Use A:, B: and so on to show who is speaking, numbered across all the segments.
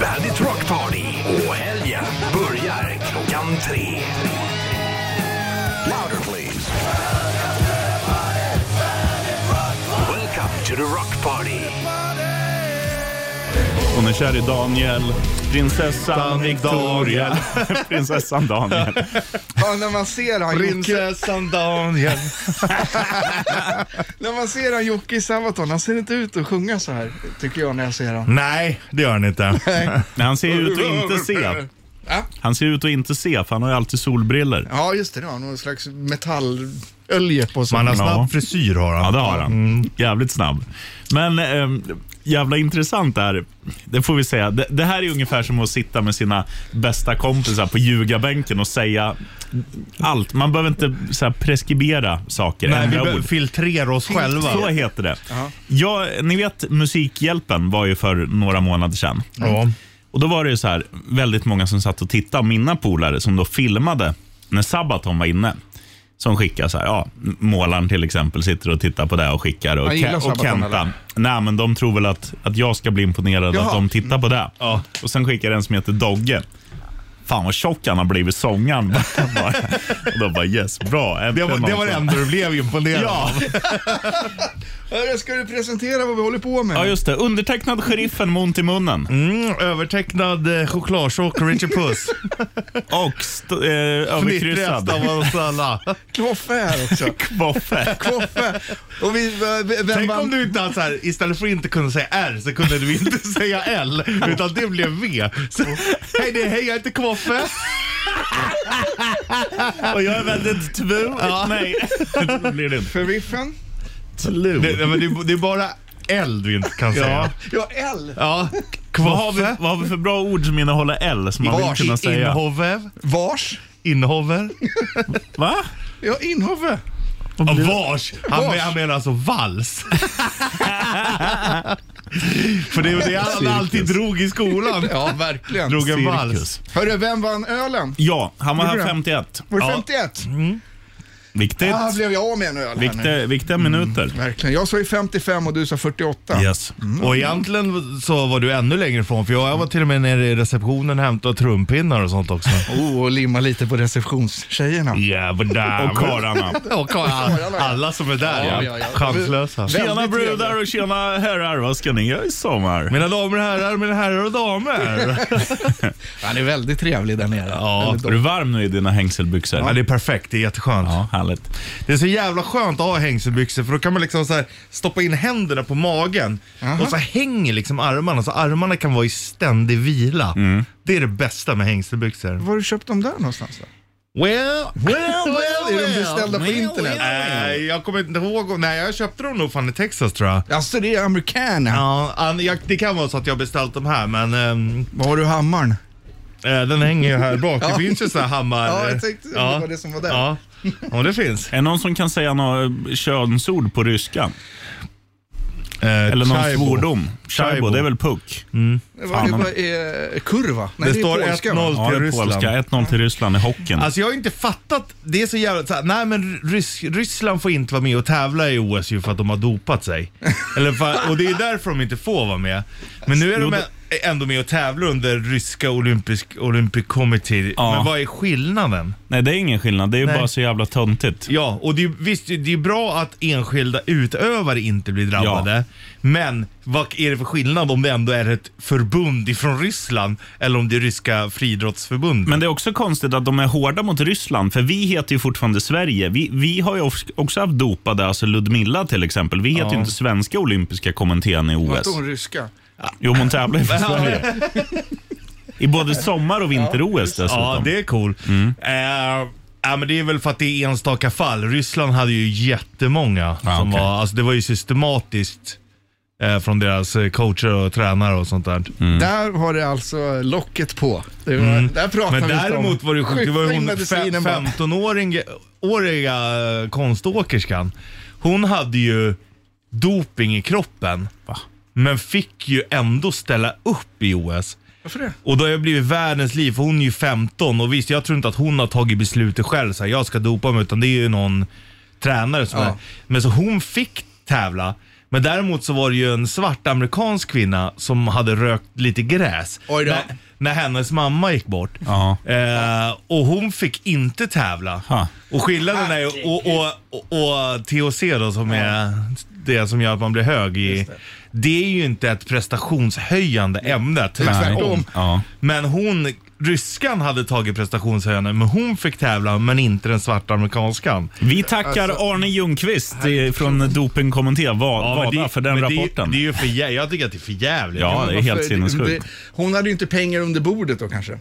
A: Bandit Rock Party och helgen börjar klockan tre. Louder please. Welcome to the Rock Party.
B: Hon är kär i Daniel, prinsessan
C: Dan-
B: Victoria. prinsessan Daniel.
D: Ja, när man ser han Jocke,
C: Prinsessan Daniel.
D: när man ser han Jocke i Sabaton, han ser inte ut att sjunga så här, tycker jag när jag ser honom.
C: Nej, det gör han inte.
B: Men han ser ju ut att inte se.
D: Ja,
B: Han ser ut att inte se, för han har ju alltid solbriller.
D: ja just det, det har någon slags metallölje på sig.
C: Man har
B: Ja.
C: snabb frisyr har han.
B: Ja, det har han.
C: Mm.
B: Jävligt snabb. Men ehm, jävla intressant det här. Det får vi säga. Det, det här är ungefär som att sitta med sina bästa kompisar på ljugarbänken och säga allt. Man behöver inte så här, preskribera saker.
C: Nej, vi
B: ändra
C: behöver
B: ord.
C: filtrera oss själva.
B: Så heter det. Ja, ni vet, Musikhjälpen var ju för några månader sedan.
C: Ja.
B: Och Då var det ju så här, väldigt många som satt och tittade, och mina polare som då filmade när Sabaton var inne. Som skickar så här, ja, målaren till exempel sitter och tittar på det och skickar. Och,
D: Han gillar
B: Ke- och
D: Sabaton,
B: Kenta,
D: eller?
B: nej men de tror väl att, att jag ska bli imponerad
D: Jaha.
B: att de tittar på det. Och sen skickar en som heter Dogge. Fan vad tjock han har blivit, sångaren. Bara- och då bara yes, bra.
C: Det, var, det var det enda du blev imponerad
B: Ja.
C: av.
D: Hörru, Ska du presentera vad vi håller på med?
B: Ja just det, undertecknad sheriffen med ont i munnen.
C: Mm, övertecknad eh, chokladtjock Richard Puss.
B: Och st- eh,
C: Fnittrigast
B: överkryssad.
C: av oss alla.
D: Kloffe här också.
B: Boffe.
D: Kloffe. Och vi, v- v- vem
C: Tänk
D: vann?
C: om du inte hade så här, istället för att inte kunna säga R så kunde du inte säga L, utan det blev V. Så, hej, det, hej, jag heter Kvoffe.
B: Och jag är väldigt tvu. Nej, det blir det inte.
D: För riffen?
C: Det, nej, men det, är- det är bara L du inte kan säga.
D: Ja, L.
C: Ja.
B: Vad har, vi,
C: Kvoffe.
B: vad har vi för bra ord som innehåller L som man vill
D: Vars-
B: kunna säga?
C: Inhover.
D: Vars?
C: Inhover.
B: Va?
D: Ja, inhove.
C: Ja, vars. Han,
D: Vars.
C: men- han menar alltså vals. För det är det han alltid drog i skolan.
D: Ja, verkligen.
C: Drog en
B: Cirkus.
C: vals.
D: Hörru, vem vann ölen?
B: Ja, han var
D: Gjorde
B: här
D: det?
B: 51.
D: Var det
B: Ja,
D: 51?
B: viktigt.
D: Ah, blev jag av med en öl här nu.
B: Viktiga, viktiga minuter.
D: Verkligen. Jag sa ju 55 och du sa 48.
B: Yes.
C: Och egentligen så var du ännu längre ifrån för jag var till och med nere i receptionen och hämtade trumpinnar och sånt också.
D: Oh, och limma lite på receptionstjejerna.
C: Jävlar.
B: Och karlarna.
C: Och karlarna. Alla som är där
D: Ja,
C: ja.
D: ja, ja.
C: Chanslösa.
D: Väldigt
B: Tjena
D: trevligt.
B: brudar och tjena herrar. Vad ska ni göra i sommar?
C: Mina damer och herrar, mina herrar och damer.
D: Han är väldigt trevlig där nere.
C: Ja.
B: Är du varm nu i dina hängselbyxor?
C: Ja, det är perfekt. Det är jätteskönt.
B: Ja, härligt.
C: Det är så jävla skönt att ha hängselbyxor för då kan man liksom så här stoppa in händerna på magen och så hänger liksom armarna så armarna kan vara i ständig vila.
D: Mm.
C: Det är det bästa med hängselbyxor.
D: Var har du köpt dem där någonstans då?
C: Well, well, well.
D: Är de beställda på internet?
C: Nej, jag kommer inte ihåg. om- Nej, jag köpte dem nog fan i Texas tror jag.
D: Alltså det är amerikaner.
C: Ja, an- jag, det kan vara så att jag har beställt dem här men ehm,
D: Var har du hammaren?
C: eh, den hänger ju här bak. Det finns ju sådana här hammar.
D: Ja, jag tänkte det var det som var där.
C: Ja, ja det finns.
B: Är det någon som kan säga några könsord på ryska?
C: Eh,
B: Eller någon svordom? Chaibo,
C: Chaibo.
B: det är väl puck?
D: Det var, det var eh, kurva. Nej,
C: Det
D: det,
C: står
D: är polska, va?
C: 1-0.
B: Ja, det är
C: Ryssland.
B: polska. 1-0 till Ryssland i hockeyn.
C: Alltså jag har ju inte fattat, det är så jävla så här, nej men Rys Ryssland får inte vara med och tävla i OS ju för att de har dopat sig. Eller för, och det är därför de inte får vara med. Men nu är
B: Jo,
C: de ändå med och tävlar under ryska olympisk, olympic committee.
B: Ja.
C: Men vad är skillnaden?
B: Nej, det är ingen skillnad. Det är ju
C: Nej.
B: bara så jävla töntigt.
C: Ja, och det är, visst det är ju bra att enskilda utövare inte blir drabbade. Men vad är det för skillnad om det ändå är ett förbund ifrån Ryssland eller om det är ryska friidrottsförbundet?
B: Men det är också konstigt att de är hårda mot Ryssland, för vi heter ju fortfarande Sverige. Vi, vi har ju ox- också haft dopade, alltså Ludmilla till exempel. Vi heter ju inte svenska olympiska kommittén i
D: Vad
B: OS.
D: står hon ryska?
B: Jo, men hon tävlar ju för Sverige. I både sommar och vinter-OS dessutom.
C: Ja, det är cool. Eh, ja, men det är väl för att det är enstaka fall. Ryssland hade ju jättemånga.
B: Ja,
C: som
B: okej.
C: var, alltså, det var ju systematiskt eh, från deras eh, coacher och tränare och sånt där.
D: Där har det alltså locket på. Det var, Där pratar
C: Mm. Men
D: vi inte om.
C: däremot var det ju sjukt. Det var ju
D: Skjuta in
C: hon
D: medicinen bara.
C: 15-åriga eh, konståkerskan. Hon hade ju doping i kroppen. Men fick ju ändå ställa upp i OS.
D: Varför det?
C: Och då har jag blivit världens liv, för hon är ju 15 och visst, jag tror inte att hon har tagit beslutet själv så här, jag ska dopa mig, utan det är ju någon tränare som
D: Ja.
C: är. Men så hon fick tävla, Men däremot så var det ju en svart amerikansk kvinna som hade rökt lite gräs.
E: Oj då.
C: När, när hennes mamma gick bort.
B: Ja.
C: Eh, och hon fick inte tävla.
B: Ha.
C: Och skillnaden är ju, och, och, och, och THC då som är det som gör att man blir hög i, det. är ju inte ett prestationshöjande ämne, tvärtom.
B: Ja.
C: Men hon, ryskan hade tagit prestationshöjande, men hon fick tävla, men inte den svarta amerikanskan.
B: Vi tackar
C: Alltså-
B: Arne Ljungqvist eh, från Dopingkommittén, Va-
C: men
B: WADA,
C: det-
B: för den
C: men
B: rapporten.
C: Det, det är ju för jä- jag tycker att det är för jävligt.
B: Ja, det är helt
E: Varför-
B: sinnessjukt.
E: det- Hon hade ju inte pengar under bordet då kanske.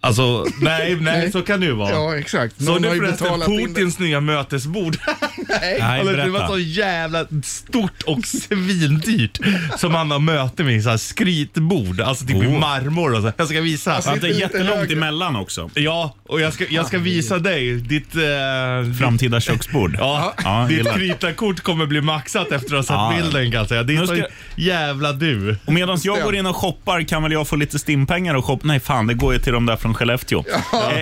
C: Alltså, nej, nej, så kan det ju vara.
E: Ja, exakt.
C: Så
E: Någon
C: nu
E: har ju
C: förresten,
E: betalat in det.
C: Putins nya mötesbord.
E: Nej.
B: Nej,
C: Alltså, det var
B: berätta.
C: så jävla stort och svindyrt som han har möte med. Så här skrytbord, alltså typ i
B: Oh.
C: marmor och så. Jag ska visa.
B: Att det är
E: Lite
B: jättelångt
E: högre.
B: emellan också.
C: Ja, och jag ska, jag ska visa dig ditt... Eh,
B: Framtida köksbord.
C: Ja,
B: Ja,
C: ditt
B: gillar.
C: krytarkort kommer bli maxat efter att ha
B: Ja.
C: sett bilden kan jag säga. Det
B: Nu
C: är
B: ska-
C: så jävla du.
B: Och medan jag
E: det.
B: går in och shoppar kan väl jag få lite stimpengar och shoppa? Nej, fan, det går ju till de där från Skellefteå.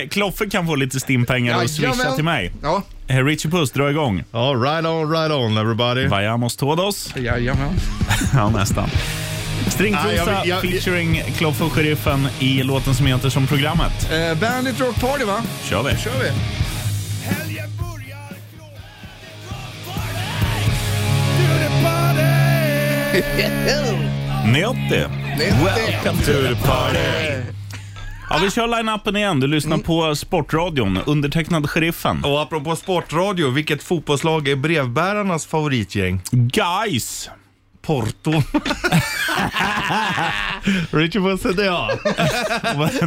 B: Eh, Kloffe kan få lite stimpengar och swisha
E: Jajamän.
B: till mig.
E: Ja,
B: Eh, Richie Puss, dra igång.
C: Ja, right on, right on everybody.
B: Vayamos todos.
E: jajamän.
B: Ja, nästan.
C: Ah, jag
B: Stringtrosa
C: vill- jag-
B: featuring Kloffe och Sheriffen i låten som heter som programmet.
E: Eh, Bandit Rock Party va?
B: kör vi.
E: kör vi.
A: Helgen börjar klockan är rockparty! Du är party!
B: Nöte. Welcome to the party. Ja, vi kör line-upen igen. Du lyssnar på Sportradion, undertecknad Sheriffen.
C: Och apropå sportradio, vilket fotbollslag är brevbärarnas favoritgäng?
B: Guys!
C: Porto. Richard Puss heter jag.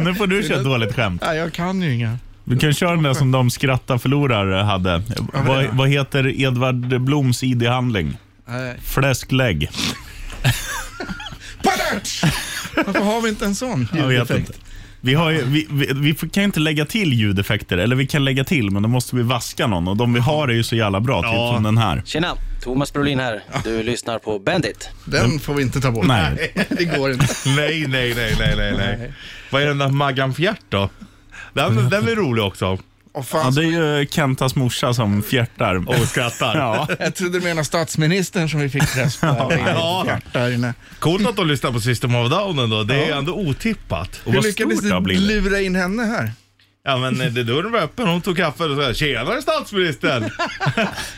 B: Nu får du köra ett dåligt skämt.
D: Nej, jag kan ju inga.
B: Du kan köra den där som de skrattar förlorar hade. Vad, vad heter Edvard Bloms ID-handling?
D: Nej.
B: Fläsklägg.
E: Padatsch!
D: Varför har vi inte en sån
B: Jag vet
D: ljudeffekt?
B: inte. Vi, har ju, vi, vi, vi får- kan ju inte lägga till ljudeffekter, eller vi kan lägga till, men då måste vi vaska någon och de vi har är ju så jävla bra, typ
C: Ja.
B: som den här.
F: Tjena, Thomas Brolin här. Du lyssnar på Bandit.
E: Den får vi inte ta bort.
B: Nej.
E: Det går inte.
C: Nej, nej, nej, nej, nej, nej. Vad är den där Maggan Fjärt då? Den, den är rolig också.
E: Åh
B: Ja,
E: fan.
B: det är ju Kentas morsa som fjärtar.
C: Och skrattar.
B: Ja.
E: Jag trodde du menade statsministern som vi fick träff på.
C: Ja.
E: ja. Där inne.
C: Coolt att de lyssnar på System of Down ändå. Det är ändå otippat.
B: Och
E: Hur
B: vad
E: lyckades
B: stort det har
E: du
B: blivit.
E: lura in henne här?
C: Ja men eh, det dörren var öppen, hon tog kaffe och sa “Tjenare statsministern!”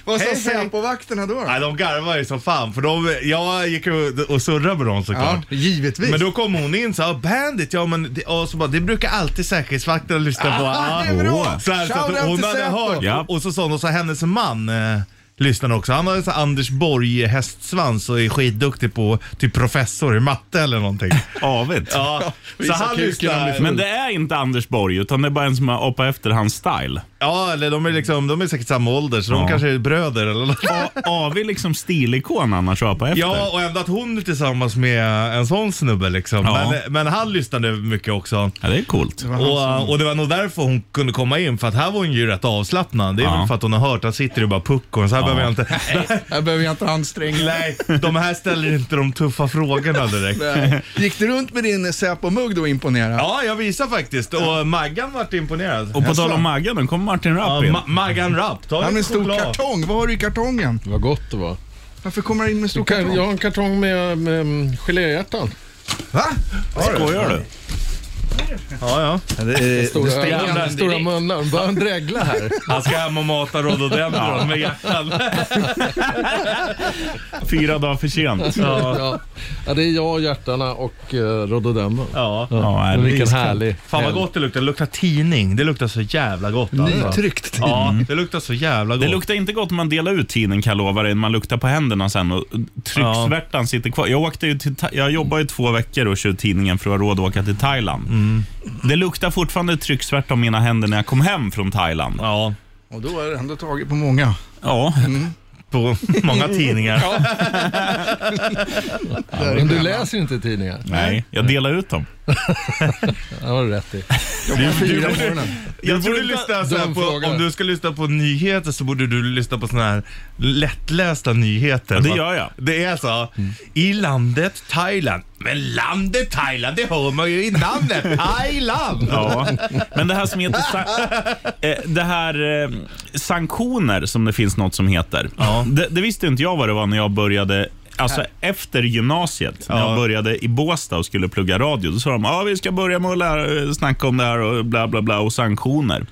E: Vad sa
C: Hej, hej.
E: Säpovakterna då?
C: Nej de garvade ju som fan för de, jag gick och- och surrade med dem såklart.
E: Ja, givetvis.
C: Men då kom hon in så här, "Ah, bandit, ja men det, och så bara, det brukar alltid säkerhetsvakterna lyssna på.
E: Ah,
C: Ja.
E: det är bra.
C: Så här, så
E: Shout
C: att
E: out
C: hon
E: till
C: hade
E: Säpo.
C: hört,
B: Ja.
C: och så sa hon, och så hennes man eh, lyssnade också. Han har en sån här Anders Borg hästsvans och är skitduktig på typ professor i matte eller någonting.
B: Avigt.
C: Ja, så
E: Visa
C: han
E: kuken, han blir
C: lyssnar.
E: full.
B: Men det är inte Anders Borg, utan det är bara en som har apat efter hans style.
C: Ja, eller de är, liksom, de är säkert samma ålder så de
B: Ja.
C: kanske är bröder eller något.
B: Av är liksom stilikon annars att apa efter.
C: Ja, och ändå att hon är tillsammans med en sån snubbe liksom.
B: Ja.
C: Men, men han lyssnade mycket också.
B: Ja, det är coolt.
C: Och, och det var nog därför hon kunde komma in, för att här var hon ju rätt avslappnad. Det är
B: Ja.
C: väl för att hon har hört, att sitter ju bara puckon, så här behöver jag inte...
E: Här behöver jag inte anstränga mig.
C: Nej, de här ställer inte de tuffa frågorna direkt.
E: Nej. Gick du runt med din Säpo-mugg då och imponerade?
C: Ja, jag visar faktiskt och Maggan vart imponerad.
B: Och på tal om Maggan, nu kommer Martin
C: Ja,
B: Rapp in.
C: Ma- Maggan Rapp, ta
E: Han med
C: en
E: en stor
C: choklad.
E: kartong. Vad har du i kartongen?
G: Vad gott det var.
E: Varför kommer han in med en stor
G: Du kan,
E: kartong?
G: jag har en kartong med, med mm, geléhjärtan.
E: Va?
B: Skojar du?
C: Ja, ja.
G: Stora,
C: stänger
G: stora munnar. Börjar han dregla här?
C: Han ska hem och mata rhododendron med hjärtan.
B: Fyra dagar för sent.
G: ja. ja, det är jag, hjärtarna och uh, rhododendron.
C: Ja.
B: Ja,
G: Men
B: det är
G: vilken
B: iskallt.
G: härlig
C: Fan vad
G: helg.
C: gott det luktar. Det luktar tidning. Det luktar så jävla gott alltså.
E: Nytryckt.
C: Ja, det luktar så jävla gott.
B: Mm. Det luktar inte gott om man delar ut tiden kan jag lova dig. Man luktar på händerna sen och trycksvärtan sitter kvar. Jag, åkte ju till, Tha- jag jobbade ju två veckor och körde tidningen för att ha råd att åka till Thailand.
C: Mm.
B: Det luktar fortfarande trycksvärta om mina händer när jag kom hem från Thailand.
C: Ja,
E: Och då har du ändå tagit på många.
B: Ja,
C: på många tidningar.
G: Men du läser inte tidningar?
B: nej. Jag delar ut dem.
G: Det har du rätt i.
E: Klockan fyra på morgonen.
C: Jag borde
B: tror inte-
C: lyssna så här
G: dum
C: på,
G: fråga.
C: om du ska lyssna på nyheter så borde du lyssna på såna här lättlästa nyheter.
B: Ja, det
C: va?
B: gör jag. Mm.
C: Det är så. I landet Thailand. Men landet Thailand, det hör man ju i namnet. Thailand!
B: Ja, men det här som heter sa- eh, det här eh, sanktioner som det finns något som heter.
C: Ja. Äh.
B: Det, det visste inte jag vad det var när jag började Alltså efter gymnasiet, när
C: Ja.
B: jag började i Båstad och skulle plugga radio, då sa de att ah, vi ska börja med att lära, eh, snacka om det här och bla bla bla och sanktioner.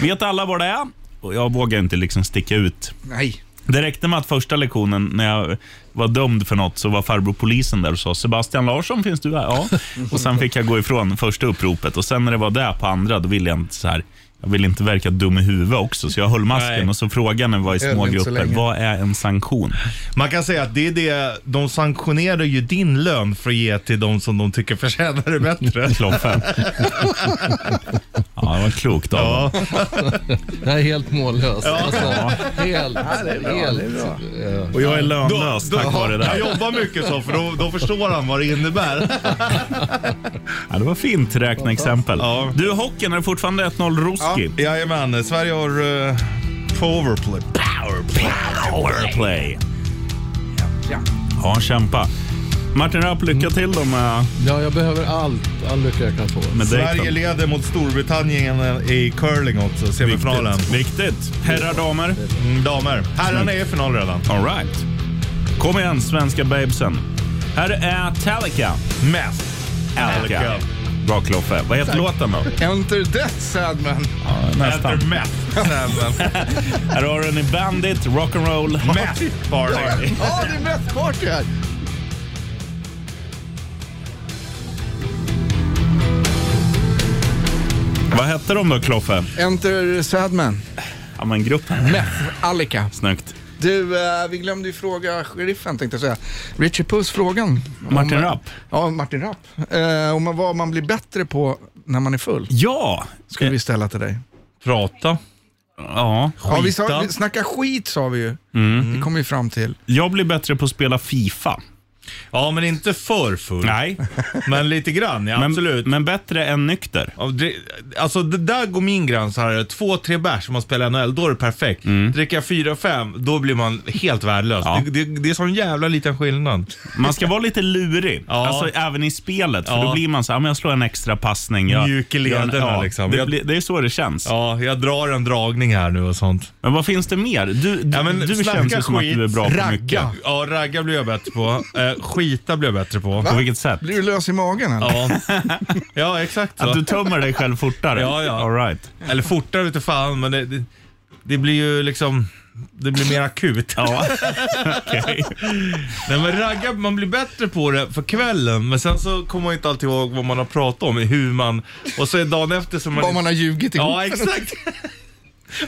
B: Vet alla vad det är? Och jag vågar inte liksom sticka ut
E: Nej.
B: det räckte med att första lektionen, när jag var dömd för något, så var farbror polisen där och sa Sebastian Larsson, finns du här? Ja. Och sen fick jag gå ifrån första uppropet och sen när det var där på andra, då ville jag inte så här jag ville inte verka dum i huvudet också, så jag höll masken
C: Nej.
B: och så frågade när vi var i
E: Öl inte
B: små
E: så
B: grupper,
E: länge.
B: vad är en sanktion?
C: Man kan säga att det är det, de sanktionerar ju din lön för att ge till de som de tycker förtjänar det bättre.
B: Kloffe. ja, det var klokt av honom.
C: Ja.
G: Jag är helt mållös. Alltså, helt, helt. eh,
B: Och jag är lönlös tack vare det
C: Jag
B: där.
C: jobbar mycket så, för då, då förstår han vad det innebär.
B: Ja, det var fint räkneexempel.
C: Ja.
B: Du, hockeyn, är det fortfarande 1-0 Roski?
C: Jajamän, Sverige har uh, powerplay. Powerplay.
B: Powerplay. Ja, kämpa. Martin Rapp, lycka till då med,
G: Ja, jag behöver allt, all lycka jag kan få.
B: med
C: Sverige
B: dejten.
C: leder mot Storbritannien eh, i curling också, semifinalen.
B: Viktigt. Viktigt. Herrar, damer.
C: Mm, damer. Herrarna är i final redan.
B: All right. Kom igen, svenska babesen. Här är Talica.
C: Mest.
B: Talica. Bra, Kloffe. Vad heter låten då?
E: Enter death Sadman.
B: Nästan.
C: Äter mest. Sen,
B: Här har du den i Bandit, Rock'n'Roll.
C: Mest party.
E: Ja, det är mest party här.
B: Vad hette de då, Kloffe?
E: Enter Sadman.
B: Ja, men gruppen.
E: Meth. Alika.
B: Snyggt.
E: Du, eh, vi glömde ju fråga sheriffen tänkte jag säga. Richie Puss frågan.
B: Martin
E: Om-
B: Rapp.
E: Ja, Martin Rapp. Eh, om vad man blir bättre på när man är full.
B: Ja.
E: Skulle vi ställa till dig.
C: Prata.
B: Ja.
E: Ja, vi, sa,
C: Skita.
E: vi snacka skit sa vi ju. Det kom vi fram till.
B: Jag blir bättre på att spela Fifa.
C: Ja, men inte för full.
B: Nej,
C: Men lite grann, ja.
B: men,
C: absolut.
B: men bättre än nykter.
C: Ja, det, alltså det där går min gräns här. Två, tre bärs om man spelar NHL, då är det perfekt. Dricker jag fyra, fem, då blir man helt värdelös.
B: Ja.
C: Det, det, det är sån jävla liten skillnad.
B: Man ska vara lite lurig,
C: Ja.
B: alltså, även i spelet. För
C: Ja.
B: Då blir man så här, "Ah, men jag slår en extra passning. Jag,
C: Mjuk i lederna,
B: jag-
C: liksom.
B: Det,
C: Jag-
B: blir- det är så det känns.
C: Ja, jag drar en dragning här nu och sånt.
B: Men vad finns det mer? Du, du,
C: Ja, men
B: du
C: snacka
B: känns ju som att
C: skit,
B: du är bra på
C: ragga.
B: mycket.
C: Ja, ragga blir jag bättre på. Eh, skita blir jag bättre på.
B: På vilket sätt?
E: Blir du lös i magen eller?
C: Ja. ja, exakt så.
B: Att du tömmer dig själv fortare?
C: Ja, ja.
B: All right.
C: Eller fortare ute fan, men det, det, det blir ju liksom... Det blir mer akut.
B: Ja. Okej.
C: Nej men ragga, man blir bättre på det för kvällen, men sen så kommer man inte alltid ihåg vad man har pratat om, hur man... Och så är dagen efter som man... liksom-
E: Vad man har ljugit ihop.
C: Ja, exakt.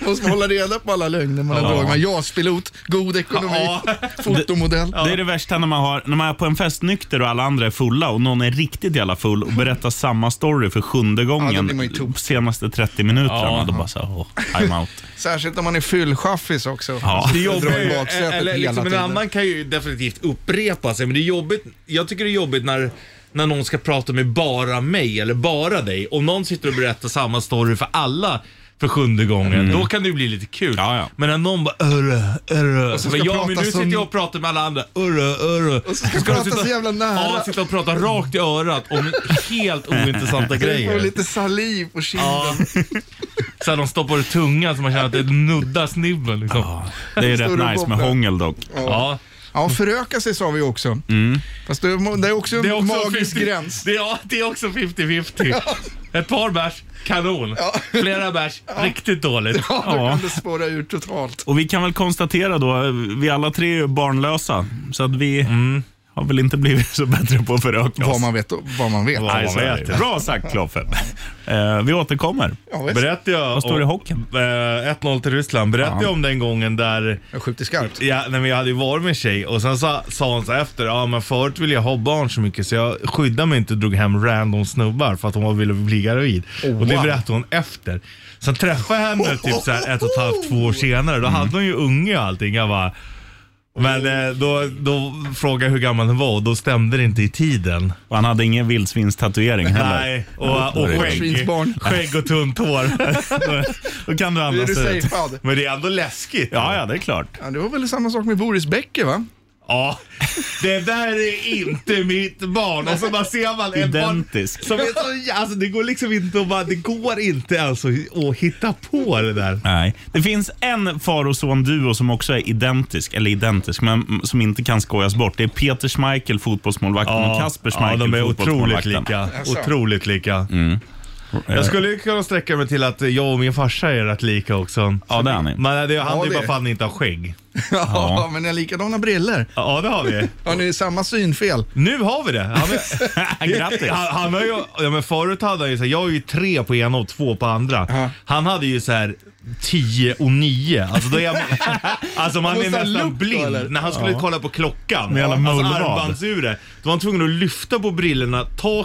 E: Måste hålla reda på alla lögner man har
B: Ja.
E: dragit med. JAS-pilot, god ekonomi,
C: Ja.
E: fotomodell.
B: Det är det värsta när man, har, när man är på en fest nykter och alla andra är fulla och någon är riktigt jävla full och berättar samma story för sjunde
E: Ja, då
B: gången
E: blir man ju tom.
B: senaste 30 minuterna.
C: Ja.
B: Då bara så här, åh, I'm out.
E: Särskilt om man är fyllchaffis också.
B: Ja.
E: Det
C: jobbar
E: jobbar
C: ju-
E: i baksätet
C: Eller
E: hela
C: liksom en
E: tiden.
C: annan kan ju definitivt upprepa sig, men det är jobbigt. Jag tycker det är jobbigt när, när någon ska prata med bara mig eller bara dig. Om någon sitter och berättar samma story för alla för sjunde gången,
E: Mm.
C: då kan det ju bli lite kul.
B: Ja, ja.
C: Men när någon bara örö, örö.
E: så ska
C: Men, ja,
E: prata
C: men nu
E: som-
C: sitter jag och pratar med alla andra, örö, örö. Och
E: så ska prata så jävla nära.
C: Ja, sitta och prata rakt i örat om helt ointressanta
E: Du får
C: grejer.
E: lite saliv på kinden.
C: Ja. Så här, de stoppar i tungan så man känner att det nuddar snibben liksom. Ja.
B: Det är
E: Står och
B: rätt nice med
E: bobblar.
B: hångel dock.
E: Ja, föröka sig sa vi också. Fast det är det är också en
C: Det är också
E: magisk
C: 50
E: gräns.
C: Det är, ja, det är också 50-50. Ett par bärs, kanon. Flera bärs, riktigt dåligt.
E: Ja, då
B: Ja.
E: kan det spåra ur totalt.
B: Och vi kan väl konstatera då, vi alla tre är ju barnlösa, så att vi har väl inte blivit så bättre på att föröka
E: Vad
B: oss.
E: man vet och vad man vet. Alltså,
B: Nej, så är det. Bra sagt Kloffe. Eh, vi återkommer.
E: Ja, visst.
C: Berättade jag...
B: Vad står det i
C: om-
B: hockeyn?
C: eh, 1-0 till Ryssland. Berättade jag om den gången där
E: Jag skjuter skarpt.
C: Ja, nej, men jag hade ju varit med en tjej och sen sa, sa hon så här efter, ja men förut ville jag ha barn så mycket så jag skyddade mig inte och drog hem random snubbar för att hon ville bli gravid. och det berättade hon efter. Sen träffade jag henne typ så här ett och ett halvt, två år senare, då hade hon ju unge och allting. Jag bara, Men eh, då, då frågade jag hur gammal den var och då stämde det inte i tiden.
B: Och han hade ingen vildsvinstatuering heller.
C: Nej, och, och skägg.
E: Vildsvinsbarn.
C: Skägg och tunt hår.
B: Då kan du
E: Är
B: andas
E: du
B: ut.
E: safead?
C: Men det är ändå läskigt.
B: Ja, ja, det är klart.
E: Ja, det var väl samma sak med Boris Becker va?
C: Ja, det där är inte mitt barn. Och så bara ser man en
B: Identisk.
C: barn som är så, jä- alltså det går liksom inte att bara, det går inte alltså att hitta på det där.
B: Nej. Det finns en far och son-duo som också är identisk, eller identisk, men mm, som inte kan skojas bort. Det är Peter Schmeichel, fotbollsmålvakten, och Kasper
C: ja,
B: Schmeichel,
C: de är otroligt
B: fotbollsmålvakten.
C: lika. Otroligt lika.
B: Eh,
C: Jag skulle ju kunna sträcka mig till att jag och min farsa är rätt lika också.
B: Ja, det är ni.
C: Men det, han
E: Ja,
C: är ju
E: det
C: bara
E: är-
C: fan inte har skägg.
E: Ja, men ni har likadana briller.
C: Ja, det har vi.
E: Har ni samma synfel?
C: Nu har vi det. Han är,
B: Grattis!
C: Han, han har ju, ja, men förut hade han ju så här, jag har ju tre på ena och två på andra. Han hade ju så här 10 och 9. Alltså, då är jag, alltså man
E: Han
C: är
E: måste ha
C: nästan
E: lupp då,
C: blind.
E: eller?
C: När han skulle kolla på klockan,
B: Med alla
C: alltså
B: mullvad.
C: armbandsuret, då var han tvungen att lyfta på brillorna, ta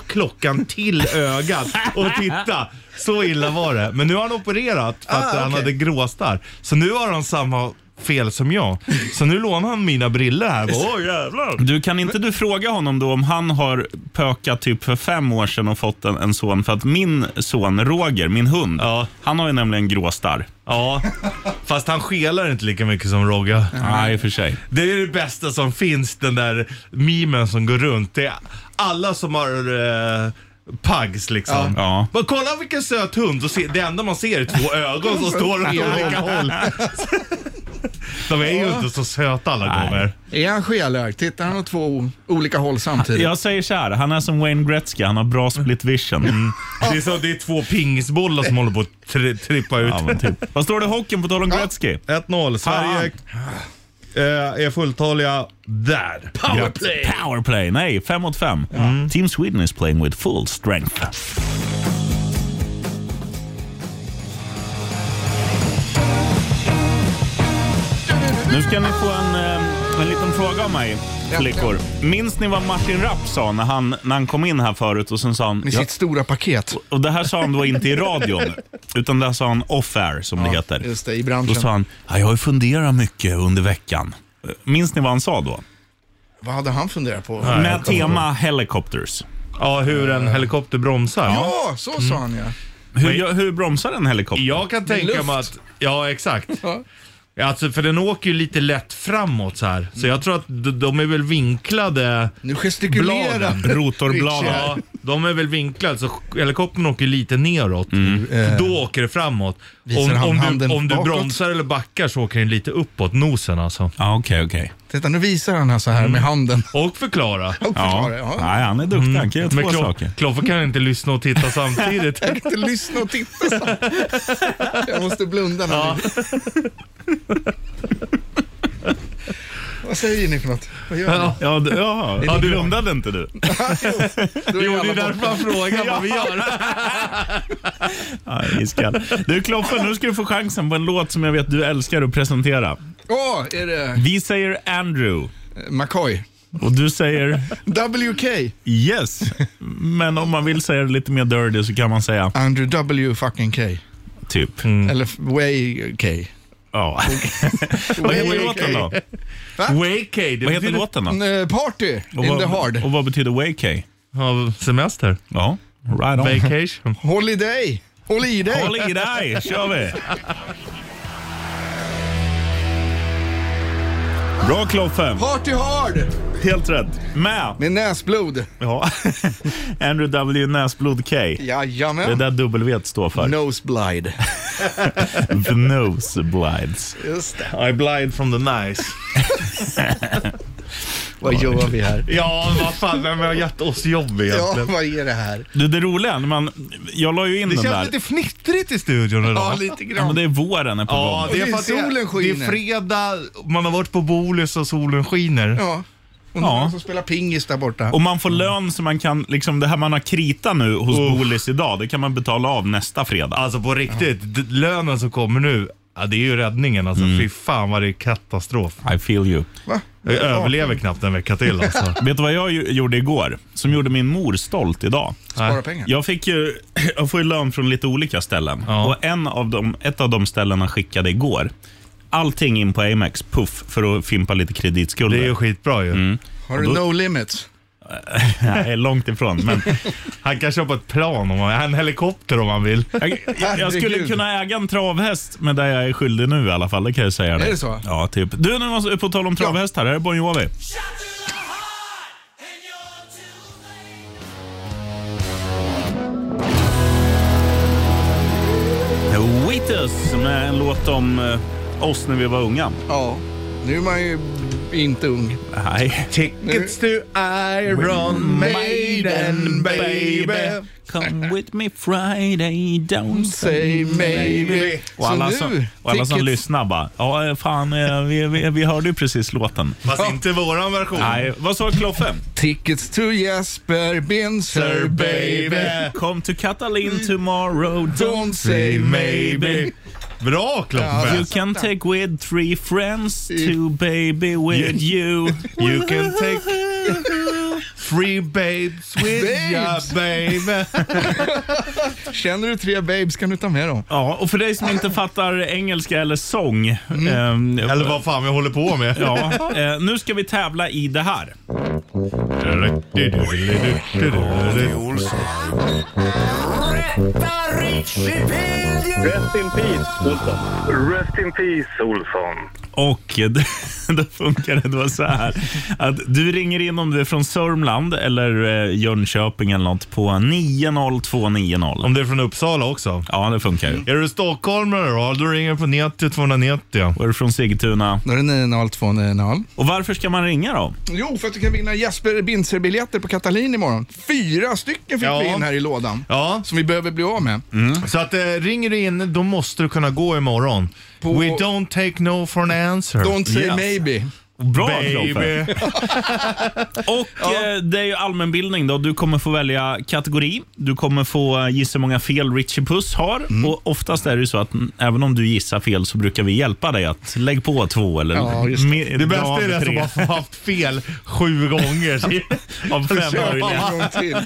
C: klockan till ögat och titta. Så illa var det. Men nu har han opererat för att
E: Ah,
C: han
E: okej.
C: hade gråstarr. Så nu har han samma fel som jag. Så nu lånar han mina brillor här. Bara, Åh jävlar.
B: Du, kan inte du fråga honom då om han har pökat typ för fem år sedan och fått en, en son? För att min son Roger, min hund,
C: Ja.
B: han har ju nämligen gråstarr.
C: Ja, fast han skelar inte lika mycket som Rogga.
B: Nej, i och för sig.
C: Det är det bästa som finns, den där memen som går runt. Det är alla som har eh, pugs liksom.
B: Ja.
C: Bara, kolla vilken söt hund. Och se, det enda man ser är två ögon som står åt olika håll. De är ju inte så söta alla gånger.
E: Är han skelögd? Tittar han åt två o- olika håll samtidigt?
B: Jag säger så här, han är som Wayne Gretzky, han har bra split vision.
C: Det är, så, det är två pingisbollar som håller på att tri- trippa ut.
B: Ja, men typ. Vad står det i hockeyn på tal om Gretzky?
C: 1-0. Sverige
B: Ah.
C: eh, är fulltaliga där.
B: Powerplay! Powerplay, nej, fem mot fem.
E: Mm.
B: Team Sweden is playing with full strength. Nu ska ni få en, eh, en liten fråga av mig, flickor. Minns ni vad Martin Rapp sa när han, när han kom in här förut och sen sa han...
E: Med
B: "Ja,
E: sitt stora paket.
B: Och det här sa han då inte i radion, utan det här sa han off-air, som det heter.
E: Just det, i
B: Då
E: branschen.
B: sa han, ja, jag har ju funderat mycket under veckan. Minns ni vad han sa då?
E: Vad hade han funderat på?
B: Med tema helicopters.
C: Ja, hur en helikopter bromsar.
E: Ja, så sa han ja.
B: Hur, hur bromsar en helikopter?
C: Jag kan tänka
E: luft.
C: mig att, ja exakt. Alltså för den åker ju lite lätt framåt så här. Så jag tror att de, de är väl vinklade.
E: Nu gestikulerar
C: Bladen.
E: han.
B: Rotorbladen.
C: Ja, de är väl vinklade så helikoptern åker lite neråt. Då åker det framåt.
E: Visar han
C: Om, om,
E: handen
C: du, om du
E: bakåt?
C: bromsar eller backar så åker den lite uppåt, nosen alltså.
B: Ja, okej, okej.
E: Titta, nu visar han här så här med handen.
C: Och förklara. Mm.
E: Och
B: Ja. Mm.
E: försvarar. Ja.
B: Nej, han är duktig. Han kan göra två
C: Klo-
B: saker.
C: Kloffe kan inte lyssna och titta samtidigt.
E: Jag kan inte lyssna och titta så. Jag måste blunda när ni... Vad säger ni för något? Vad gör ni?
C: Ja.
B: Ja, du, ja. ja du blundade inte du?
E: Då är
C: Jo, det
E: alla
C: är därför
E: borta.
C: han frågar vad vi gör.
B: Ja, iskall. Du Kloffe, nu ska du få chansen på en låt som jag vet du älskar att presentera.
E: Åh, är det eh,
B: Vi säger Andrew
E: McCoy?
B: och du säger
E: WK?
B: yes. Men om man vill säga det lite mer dirty så kan man säga
E: Andrew W fucking K.
B: typ.
E: Eller f- Way K.
B: Ja. Vad heter
E: Way
B: låten då?
C: Wake det
B: Vad heter
C: betyder-
B: låten då?
E: N- Eh, Party
B: Och
E: in
B: vad-
E: the hard.
B: Och vad betyder wake?
C: Ja, semester.
B: Ja, right on.
C: Vacation.
E: Holiday. Håll i dig.
B: Håll i dig, kör vi! Bra Kloffe,
E: Party hard.
B: helt rätt. Med
E: Med näsblod.
B: ja. Andrew W Näsblod K. Det är
E: Jajamän.
B: där W står för.
E: Noseblide.
B: The nose blides.
E: Just det.
C: I blind from the nice.
E: Vad gör vi här?
C: Ja, vad fan, vem har gett oss jobb
E: Ja,
C: egentligen?
E: vad är det här?
B: Du, det roliga, när man, jag la ju in
C: det
B: den
C: känns
B: där.
C: lite fnittrigt i studion idag.
E: Ja, lite
B: Ja, men
E: grann.
B: det är våren är på
C: Ja,
B: gång.
E: Och det är
C: för att
E: solen
C: det,
E: skiner.
C: det är fredag, man har varit på Bolus och solen skiner.
E: Ja. Och
B: Ja.
E: någon som spelar pingis där borta.
B: Och man får
C: Mm.
B: lön så man kan, liksom det här man har krita nu hos Bolis idag, det kan man betala av nästa fredag.
C: Alltså på riktigt, d- lönen som kommer nu, ja, det är ju räddningen alltså.
E: Mm.
C: Fy fan vad det är katastrof.
B: I feel you.
E: Va?
C: Jag överlever knappt en vecka till alltså.
B: Vet du vad jag ju, gjorde igår? Som gjorde min mor stolt idag.
E: Spara pengar.
B: Jag, fick ju, jag får ju lön från lite olika ställen.
C: Ja.
B: Och en av dem, ett av de ställena skickade igår allting in på Amex, puff, för att fimpa lite kreditskulder.
C: Det är ju skitbra ju.
E: Har du
B: Och då-
E: no limits?
B: Nej, långt ifrån. Men
C: Han kan köpa ett plan om han vill, en helikopter om han vill.
B: jag, jag, jag skulle
E: Herregud.
B: kunna äga en travhäst, men där jag är skyldig nu i alla fall. Det kan jag säga. Är
E: det så?
B: Ja, typ. Du, nu måste, på tal om travhäst här. Här är Bon Jovi. Waitus med en låt om eh, oss när vi var unga.
E: Ja. Nu är man ju inte ung.
B: Nej.
C: Tickets to Iron Maiden baby.
B: Come with me Friday, don't
E: Say maybe.
B: Och alla, som, och alla som
E: tickets-
B: lyssnar bara, ja eh, fan, eh, vi, vi, vi hörde ju precis låten.
C: Fast inte våran version.
B: Nej, vad sa Kloffe?
E: Tickets to Jesper Binzer, baby.
B: Come to Catalin tomorrow,
E: Don't say
B: maybe.
C: Bra Kloffe!
B: You can take with three friends to baby with you.
C: You can take three babes with ya
E: Babes.
C: baby.
E: Känner du tre babes kan du ta med dem.
B: Ja, och för dig som inte fattar engelska eller sång. ehm,
C: Eller Alltså, vad fan vi håller på med.
B: Ja, eh, nu ska vi tävla i det här.
H: Rest in peace, Olsson. Rest in peace, Olsson.
B: Och eh, då funkar det då så här. Att du ringer in om du är från Sörmland eller eh, Jönköping eller något på 90290.
C: Om det är från Uppsala också.
B: Ja, det funkar ju.
C: Är du stockholmare då? Då ringer du på 90 290.
B: Och är du från Sigtuna?
E: Då är det 90290.
B: Och varför ska man ringa då?
E: Jo, för att du kan vinna Jesper Binzer-biljetter på Katalin imorgon. Fyra stycken fick
C: Ja.
E: vi in här i lådan.
C: Ja,
E: Som vi behöver bli av med.
B: Mm.
C: så att eh, ringer du in, då måste du kunna gå imorgon.
E: På-
C: We don't take no for an answer.
E: Don't say
B: Yes.
E: maybe.
B: Bra Kloffe.
C: baby.
B: Och eh, det är ju allmänbildning då. Du kommer få välja kategori. Du kommer få eh, gissa hur många fel Richie Puss har.
C: Mm.
B: Och oftast är det ju så att mm, även om du gissar fel så brukar vi hjälpa dig att lägg på två eller
E: Ja, just det.
B: mer-
C: Det
B: dra
C: bästa är
B: av
C: det som
B: tre.
C: har haft fel sju gånger.
B: av fem
E: Kör
B: möjliga.
E: en gång till.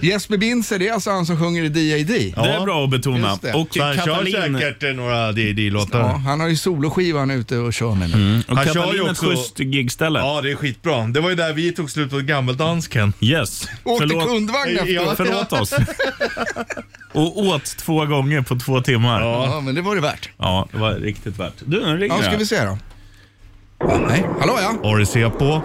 E: Jesper Binzer, det är alltså han som sjunger i D.I.D.
B: Det är bra att betona.
E: Just det.
B: Och
C: Så han kör
B: Katalin,
C: säkert eh, några DD-låtar.
E: Ja, han har ju soloskivan ute och kör med nu.
B: Mm. och
C: Han kör
B: Katalin
C: ju
B: är ett
C: också-
B: schysst gigställe.
C: Ja, det är skitbra. Det var ju där vi tog slut på Gammeldansken.
B: Yes.
E: Åkte
B: Förlåt,
E: kundvagn
C: Ja,
E: efteråt.
B: förlåt oss. Och åt två gånger på två timmar. Ja,
E: Ja, men det var det värt.
B: det var riktigt värt. Du, nu ringer
E: Ja, ska
B: jag.
E: vi se då. Nej, hallå ja.
C: Har du se på?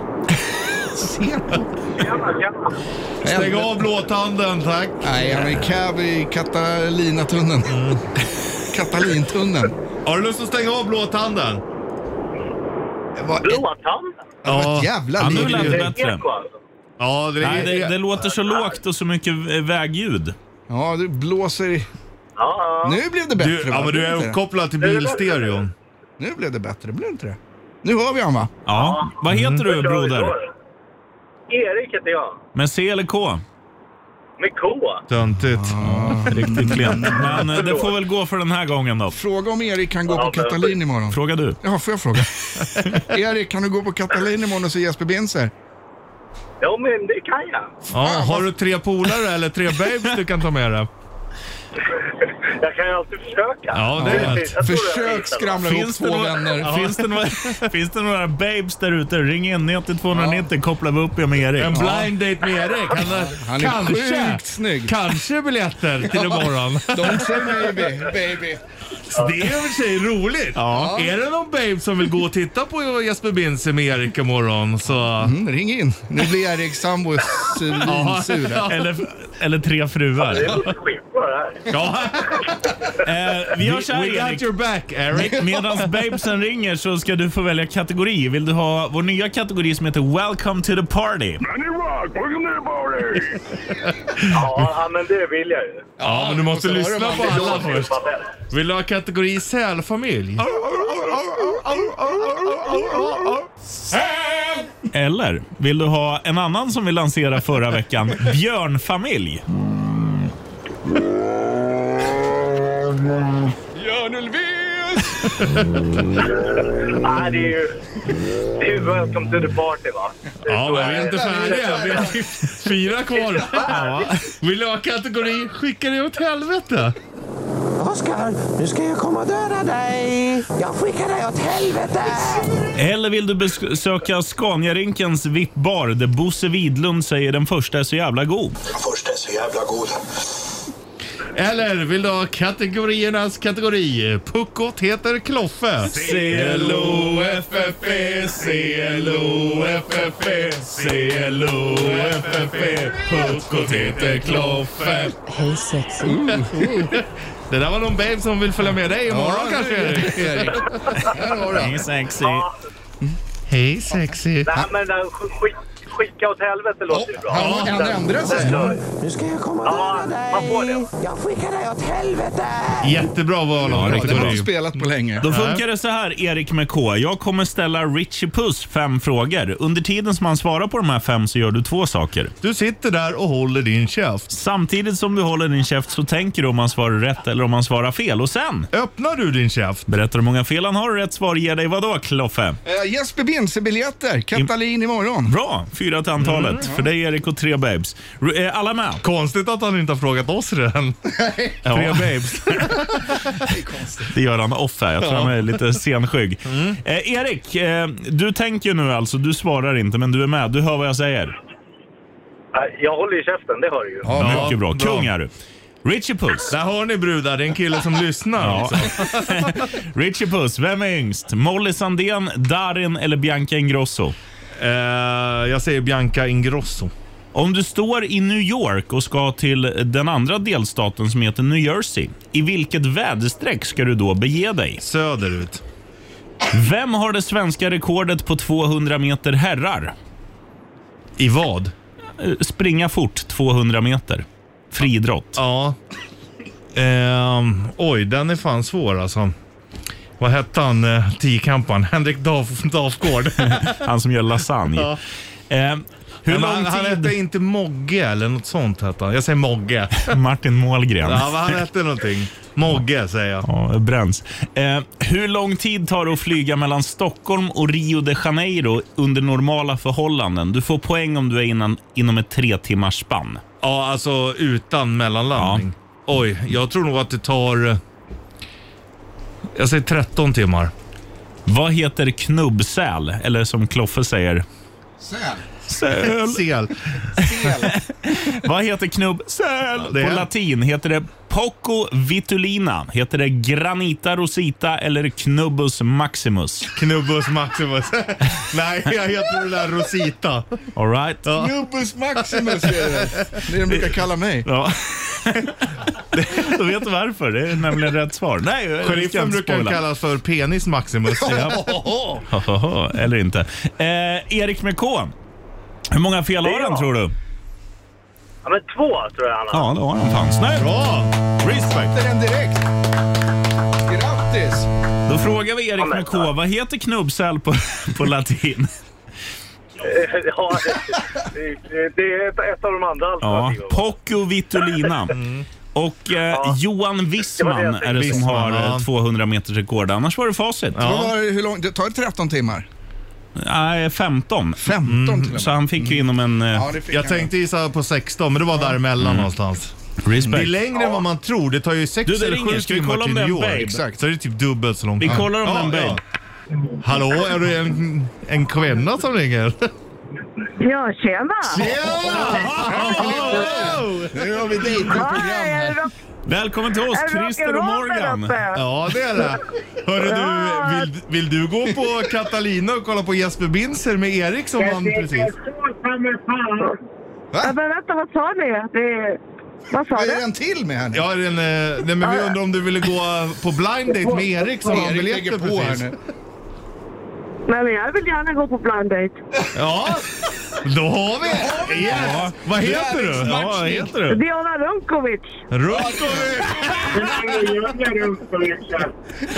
C: Stäng
E: Nej,
C: av blåtanden, tack.
E: Nej, han är i cab i Catalinatunneln.
C: Mm.
E: Katalintunneln.
C: Har du lust att stänga av blåtanden?
E: Det var ett
H: Blåtanden?
C: Ja,
E: jävla
B: Ja, nu
E: liv.
B: lät
E: i
B: det
E: det.
B: bättre.
H: Eko alltså.
C: ja det,
B: Nej, det,
C: är...
B: det låter så lågt och så mycket eh, vägljud.
E: Ja, du blåser i...
H: Ja, ja.
E: Nu blev det bättre
C: Du, ja,
E: va?
C: men du
E: Blev det
C: är
E: inte det?
C: uppkopplad till bilstereon.
E: Nu blev det bättre, blev det inte det? Nu hör vi han va?
B: Ja. Vad heter du,
H: Kör vi
B: broder?
H: då. Erik heter jag.
B: Med C eller K?
H: Med K.
C: Töntigt.
B: Riktigt klent. Men eh, det får väl gå för den här gången då.
E: Fråga om Erik kan gå
H: Ja,
E: på
H: men-
E: Katalin imorgon.
B: Fråga du.
E: Ja, får jag fråga? Erik, kan du gå på Katalin imorgon och se Jesper Binzer?
H: Ja, men det kan jag.
C: Ja, har du tre polare eller tre babes du kan ta med dig?
H: Jag kan ju alltid försöka.
C: Ja, det är rätt.
H: Jag tror jag
E: Försök
H: fixar det.
E: skramla ihop
B: Finns det,
E: två vänner.
B: några, finns, det några, finns det några babes där ute? Ring in 90290 kopplar vi upp er med Erik.
C: En blind date med Erik. Han är,
E: Han är
C: kanske,
E: sjukt snygg.
C: kanske biljetter till imorgon.
E: Don't say baby, baby.
C: Det är i och för sig roligt.
B: Ja.
C: Är det någon babe som vill gå och titta på Jesper Binzer med Erik imorgon så...
E: Mm, ring in. Nu blir Erik sambo svinsur. här.
B: Eller, eller tre fruar.
H: Det låter skitbra det här.
C: Ja.
B: Eh, vi gör så här
C: We
B: Erik.
C: got your back Erik.
B: Medan babesen ringer så ska du få välja kategori. Vill du ha vår nya kategori som heter Welcome to the party?
H: Ja, men det vill jag ju.
C: Ja, men du måste
E: måste
C: lyssna
E: höra
C: på
E: vad han
C: alla
H: Det är
C: först.
H: bara bäst.
C: Vill du ha kategori sälfamilj?
B: Eller vill du ha en annan som vi lanserade förra veckan? Björnfamilj.
H: Nej, det är ju... Det är ju Welcome to the party, va? Det är
C: Ja,
H: så
C: men vi
H: här.
C: är inte färdiga. Vi har fyra kvar. Vill du ha kategori skicka dig åt helvete?
I: Oskar, nu ska jag komma och döda dig. Jag skickar dig åt helvete.
B: Eller vill du besöka Scaniarinkens VIP-bar där Bosse Widlund säger den första är så jävla god?
I: Först är så jävla god.
C: Eller vill du ha kategoriernas kategori? Puckot heter Kloffe.
B: C-L-O-F-F-E,
C: E,
B: C-L-O-F-F-E,
C: E.
B: C-L-O-F-F-E, Puckot heter Kloffe.
J: Hej sexy.
C: Det där var någon babe som vill följa med dig imorgon kanske Erik?
B: Det är sexy.
H: Ja,
C: Hej sexy.
H: nej men eh, sk- skick, skicka åt helvete låter ju bra.
D: Han kan ändra sig.
I: Nu ska jag komma och
H: Ja,
I: döda dig.
H: man får det.
I: Jag skickar dig åt helvete.
C: Jättebra val av
D: Det har du
C: kategori.
D: spelat på länge.
B: Då funkar det så här, Erik med K. Jag kommer ställa Richie Puss fem frågor. Under tiden som han svarar på de här fem så gör du två saker.
C: Du sitter där och håller din käft.
B: Samtidigt som du håller din käft så tänker du om han svarar rätt eller om han svarar fel. Och sen
C: Öppnar du din käft?
B: berättar du hur många fel han har och rätt svar ger dig vadå, Kloffe?
D: Eh, Jesper Binse-biljetter. Katalin imorgon.
B: Bra, fyra till antalet. För dig Erik och tre babes. R- eh, Alla med?
C: Konstigt att han inte har frågat oss redan. Tre babes.
B: Det gör han ofta. Jag tror han är lite senskygg. Eh, Erik, eh, du tänker ju nu alltså. Du svarar inte, men du är med. Du hör vad jag säger.
H: Nej, Jag håller i käften, det hör du ju.
C: Ja,
B: Mycket bra.
C: bra.
B: Kung är du. Richie Puss.
C: Där har ni brudar, det är en kille som lyssnar.
B: Ja.
C: Alltså.
B: Richie Puss, vem är yngst? Molly Sandén, Darin eller Bianca Ingrosso?
C: Eh, jag säger Bianca Ingrosso.
B: Om du står i New York och ska till den andra delstaten som heter New Jersey, i vilket väderstreck ska du då bege dig?
C: Söderut.
B: Vem har det svenska rekordet på 200 meter herrar?
C: I vad?
B: Eh, Springa fort 200 meter. Friidrott.
C: Ja. Ehm, oj, den är fan svår alltså. Vad hette han, eh, tiokamparen? Henrik Daf Dafgård.
B: Han som gör lasagne. Eh, hur
C: Men
B: lång
C: han, han
B: tid...
C: hette inte Mogge eller något sånt hette han. Jag säger Mogge.
B: Martin Målgren.
C: Ja, vad han hette någonting. Mogge säger jag.
B: Ja, det bränns. Eh, hur lång tid tar det att flyga mellan Stockholm och Rio de Janeiro under normala förhållanden? Du får poäng om du är innan, inom ett tre timmars spann.
C: Ja, alltså utan mellanlandning. Oj, jag tror nog att det tar... eh, Jag säger 13 timmar.
B: Vad heter knubbsäl? Eller som Kloffe säger. Säl.
C: Sel.
B: Vad heter knubbsäl
C: det
B: på
C: är-
B: latin? Heter det Poco vitulina? Heter det Granita rosita eller Knubbus maximus?
C: Knubbus Maximus. Nej, jag heter den där Rosita.
B: All right. Ja.
D: Knubbus Maximus är det. Det är de brukar kalla mig.
B: Då vet du varför. Det är nämligen rätt svar. Nej, jag ska
C: Sheriffen
B: inte
C: brukar
B: spoila.
C: kallas för Penis Maximus.
B: Ja. Hahaha, Eller inte. Eh, Erik med K. Hur många fel har han
H: Ja.
B: tror du?
H: Ja, men två tror jag han har.
B: Ja, det har han fan. Snyggt!
C: Bra!
B: Respect.
D: Sätter den direkt. Grattis!
B: Då frågar vi Erik
H: men-
B: med K. Vad heter knubbsäl på, på latin?
H: Ja, det, det, det är ett, ett av de andra
B: Ja,
H: alternativen.
B: Poco vitulina. Och eh, Johan
H: Det var
B: Wissman
H: det jag
B: är det som
C: Wissman,
B: har
C: ja.
B: eh, 200 meters rekord. Annars var det facit.
D: Vad var det- Hur lång, det tar 13 timmar.
B: Nej, 15.
D: 15 till och
B: Så
D: med.
B: han fick ju inom en... Eh,
D: Ja, det fick
C: Jag
D: han.
C: tänkte gissa på 16, men det var däremellan
D: Mm.
C: någonstans. Det är
B: respect.
C: längre än vad man tror. Det tar ju
B: Du,
C: 6
B: det
C: eller
B: ringer.
C: 7
B: Ska vi
C: timmar
B: kolla om
C: till
B: det är
C: New
B: en
C: York.
B: babe?
C: Exakt. Så det är typ dubbelt så långt.
B: Vi kollar om
C: Ja,
B: det är en babe.
C: Hallå, är det en, en kvinna som ringer?
J: Ja, tjena!
D: Nu har vi dejtingprogram
J: Ja, jag
D: här.
J: är rock-
B: Välkommen till oss,
J: jag är
B: Christer och
J: rock'n'roll där
B: Morgan.
J: uppe.
C: Ja, det är det. Hörru du,
J: Ja.
C: vill, vill du gå på Catalina och kolla på Jesper Binzer med Erik som vann precis?
J: Ja, Men vänta, vad sa ni? Det... Vad sa
D: Vad är
J: du?
D: det en till med här nu?
C: Ja, är det en, eh, nej, men vi undrar om du ville gå på blind date med Erik som vann
D: Erik lägger
C: biljetter
D: på här
C: precis.
D: nu.
J: Nej, men jag vill gärna gå på blind date.
C: Ja, då har vi yes. Vad heter du? Ja, vad heter du?
J: Diana Runkovic.
C: Runkovic!
B: Ja,